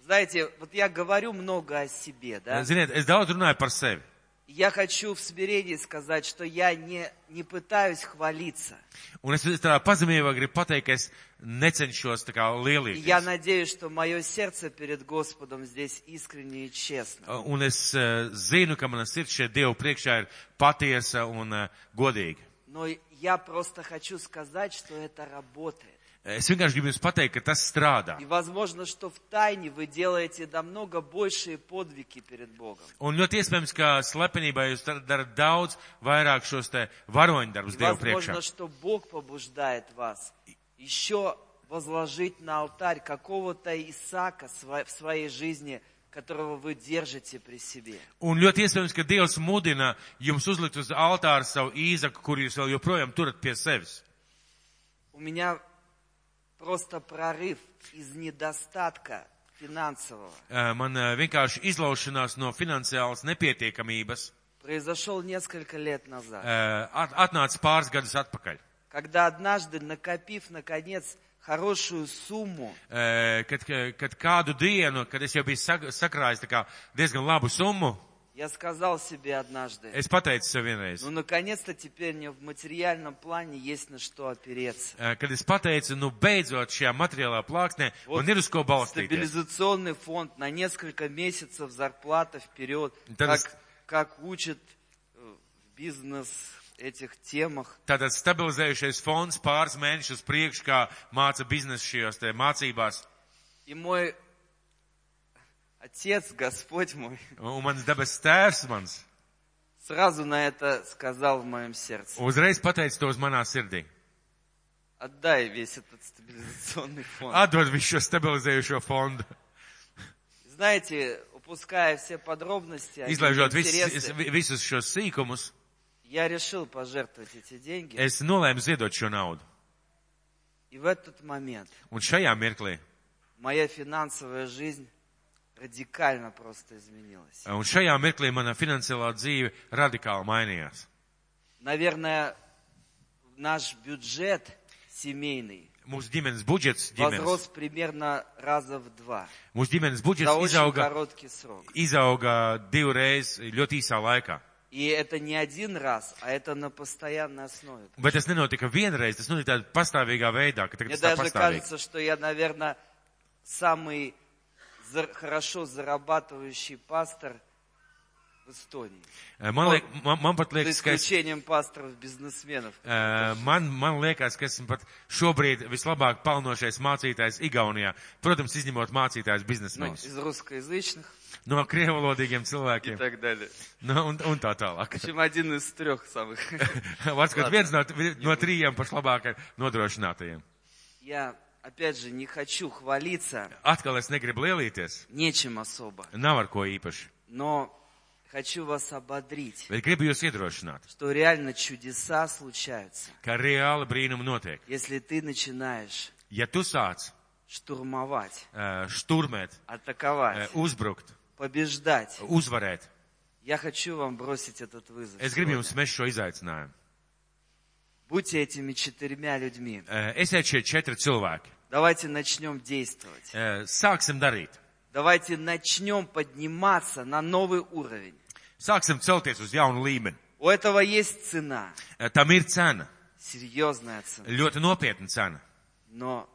Знаете, вот я говорю много о себе, да? Ziniet, es daudz runāju par sevi. И Я хочу в смирении сказать, что я не, не pытаюсь хвалиться. Un es tādā pazemībā gribu pateikt, ka es necenšos tā kā И я lielīgi. надеюсь, что мое сердце перед Господом здесь искренне и честно. E, Un es eh, zinu, ka mana sirds šeit Dievu priekšā ir patiesa un eh, godīga. Но я просто хочу сказать, что это работает. Es vienkārši gribu jums pateikt, ka tas strādā. И возможно, что в тайне вы делаете намного большие подвиги перед Богом. Un ļoti iespējams, ka slepenībā jūs dar- darat daudz vairāk šos te varoņdarbus И Dievu priekšā. возможно, что Бог побуждает вас еще возложить на алтарь какого-то Исаака сва- в своей жизни, которого вы держите при себе. Un ļoti iespējams, ka Dievs mudina jums uzlikt uz altāra savu īzaku, kur jūs vēl joprojām turat pie sevis. У меня просто прорыв из недостатка финансового. Ā, Man ā, vienkārši izlaušanās no finansiālas nepietiekamības произошел несколько лет назад, ā, at- atnāca pāris gadus atpakaļ, когда однажды, накопив, наконец, хорошую сумму, Ā, kad, kad kādu dienu, kad es jau biju sag- sakrājis tā kā diezgan labu summu, я сказал себе однажды, es pateicu sev vienreiz, ну, наконец-то теперь мне в материальном плане есть на что опереться. Ā, Eh, kad es pateicu, nu beidzot šajā materiālā plāksnē, man ir uz ko balstīties. Стабилизационный фонд на несколько месяцев зарплата вперед, Да как, нас- как учат э, в бизнес этих темах. Tātad stabilizējušies fonds pāris mēnešus priekš, kā māca biznesu šajos te mācībās. И мой отец, Господь мой, Un mans dabas tēvs mans сразу на это сказал в моем сердце. uzreiz pateica to uz manā sirdī. Отдай весь этот стабилизационный фонд. Atdod visu šo stabilizējušo fondu. Знаете, упуская все подробности, они Izlaižot visus, интересны, visus šos sīkumus, я решил пожертвовать эти деньги. es nolēmu ziedot šo naudu. И в этот момент Un šajā mirklī, моя финансовая жизнь радикально просто изменилась. un šajā mirklī mana finansiālā dzīve radikāli mainījās. Наверное, наш бюджет семейный Mūsu ģimenes budžets, ģimenes, возрос примерно раза в два mūsu ģimenes за budžets очень izauga, короткий срок. izauga divreiz ļoti īsā laikā. И это не один раз, а это на постоянной основе. Bet tas nenotika vienreiz, tas notika tādā pastāvīgā veidā, ka Мне tagad tas tā даже pastāvīgi. кажется, что я, наверное, самый зар- хорошо зарабатывающий пастор в Эстонии. Eh, Man, liek, man, man pat За liekas, ka es, исключением пасторов-бизнесменов. eh, man, man liekas, ka esmu pat šobrīd vislabāk pelnošais mācītājs Igaunijā. Protams, izņemot mācītājs Ну, biznesmenos. из русскоязычных No krievalodīgiem и cilvēkiem. так далее. No, un, un tā tālāk. В общем, один из трех самых. Varbūt viens no, no trījiem pašlabākajiem nodrošinātajiem. Я, опять же, не хочу хвалиться Atkal es negribu lielīties. нечем особо, Nav ar ko īpaši. но хочу вас ободрить, Bet gribu jūs iedrošināt, что реально чудеса случаются, ka reāli brīnumi notiek. если ты начинаешь Ja tu sāc штурмовать, eh, šturmēt, eh, атаковать, uzbrukt, побеждать. uzvarēt, Я хочу вам бросить этот вызов. es gribu сегодня. jums mest šo izaicinājumu. Будьте этими четырьмя людьми. Eh, Esiet šie četri cilvēki. Давайте начнем действовать. Eh, Sāksim darīt. Давайте начнем подниматься на новый уровень. Sāksim celties uz jaunu līmeni. У этого есть цена, Eh, Tam ir cena, серьезная цена, ļoti nopietna cena, но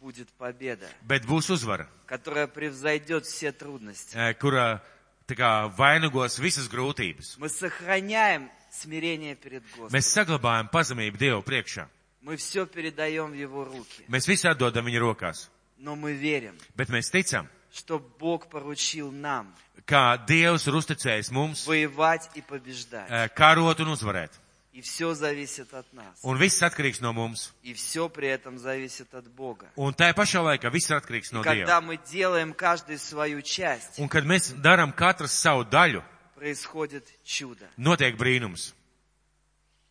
будет победа, bet būs uzvara, которая превзойдет все трудности. eh, kura tā kā, vainagos visas grūtības. Мы сохраняем смирение перед Господом. Mēs saglabājam pazemību Dievu priekšā. Мы все передаем в Его руки. Mēs visu atdodam viņa rokās, Но мы верим, bet mēs ticam, что Бог поручил нам kā Dievs ir uzticējis mums воевать и побеждать. eh, karot un uzvarēt. И все зависит от нас. Un viss atkarīgs no mums. И все при этом зависит от Бога. Un tajā pašā laikā viss ir atkarīgs no Dieva. Когда мы делаем каждый свою часть, Un kad mēs darām katrs savu daļu, происходит чудо. notiek brīnums.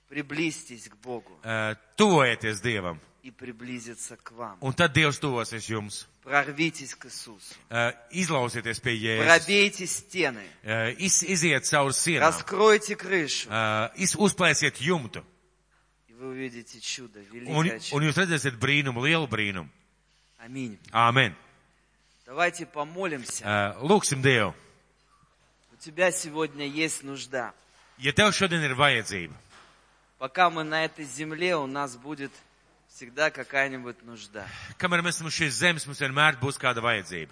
Приблизьтесь к Богу Eh, Tuvojieties Dievam, и приблизиться к вам. un tad Dievs tuvosies jums. Прорвитесь к Иисусу. Eh, Izlauzieties pie Jēzus, Пробейте стены. Eh, iz, iziet cauri sienām, Раскройте крышу. Eh, iz, uzplēsiet jumtu, И вы увидите чудо, un, великое un чудо. jūs redzēsiet brīnumu, lielu brīnumu. Аминь. Āmen! Давайте помолимся. Eh, Lūksim Dievu! У тебя сегодня есть нужда. Ja tev šodien ir vajadzība, Пока мы на этой земле, у нас будет всегда какая-нибудь нужда. kamēr mēs esam uz šīs zemes, mums vienmēr būs kāda vajadzība.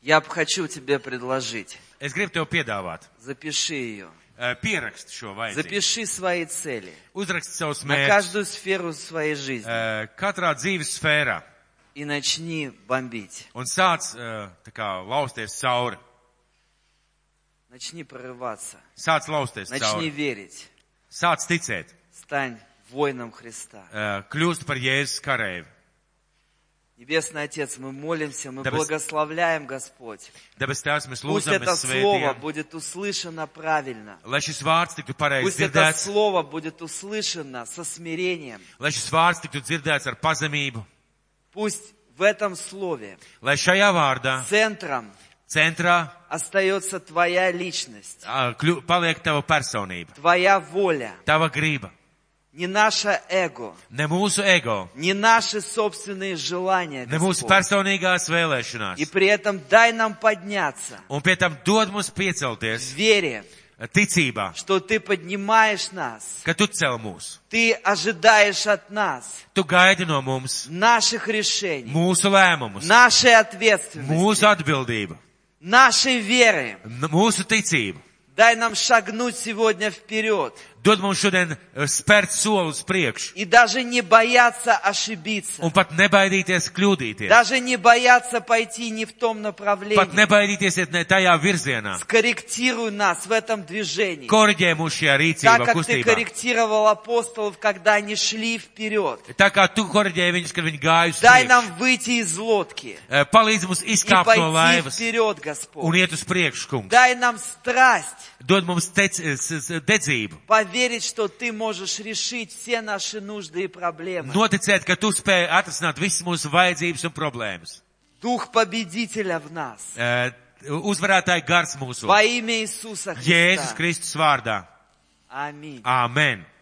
Я б хочу тебе предложить. Es gribu tev piedāvāt, Запиши ее. eh, pierakst šo vajadzību, Запиши свои цели. uzrakst savus на mērķus каждую сферу своей жизни eh, katrā dzīves sfērā и начни бомбить, un sāc eh, tā kā lausties cauri, начни прорываться, sāc lausties cauri, начни верить, sāc ticēt, Э. стань воином Христа. eh, kļūst par Jēzus karēvi. Небесный Отец, мы молимся, мы Да вы- благословляем, Господь. Debes Tēvs, mēs Пусть lūdzam, это mēs слово svētījam, будет услышано правильно. lai šis vārds tiktu pareizi Пусть это dzirdēts, слово будет услышано со смирением. lai šis vārds tiktu dzirdēts ar pazemību, Пусть в этом слове lai šajā vārdā центром centrā остается Твоя личность, ā, kļu- paliek tava personība, Твоя воля, tava grība, не наше эго, ne mūsu ego, не наши собственные желания. ne mūsu Господь. personīgās И vēlēšanās. при этом дай нам подняться Un pie tam dod mums в piecelties вере, ticībā, что Ты поднимаешь нас, ka tu cel mūs, Ты ожидаешь от нас tu gaidi no mums наших решений, mūsu lēmumus, нашей ответственности, mūsu atbildību, нашей веры. n- mūsu ticību. Дай нам шагнуть сегодня вперед Dod mums šodien eh, spērt soli uz priekšu и даже не бояться ошибиться, un pat nebaidīties kļūdīties, даже не бояться пойти не в том pat направлении. nebaidīties iet ne tajā virzienā. Скорректируй нас в этом движении, Koriģē mūs šajā так rīcībā, как Ты kustībā. корректировал апостолов, когда они шли вперед. Tā kā tu koriģēji viņus, kad viņi gāja uz Дай priekšu. нам выйти из лодки Eh, Palīdz mums и izkāpt no пойти laivas вперед, un Господь. iet uz priekšu, kungs. Дай нам страсть Dod mums tec, eh, s- s- dedzību. поверить, что Ты можешь решить все наши нужды и проблемы. Noticēt, ka tu spēj atrisināt visas mūsu vajadzības un problēmas. Дух победителя в нас. Eh, Uzvarētāji gars mūsu. Во имя Иисуса Jēzus Христа. Kristus vārdā. Аминь. Āmen!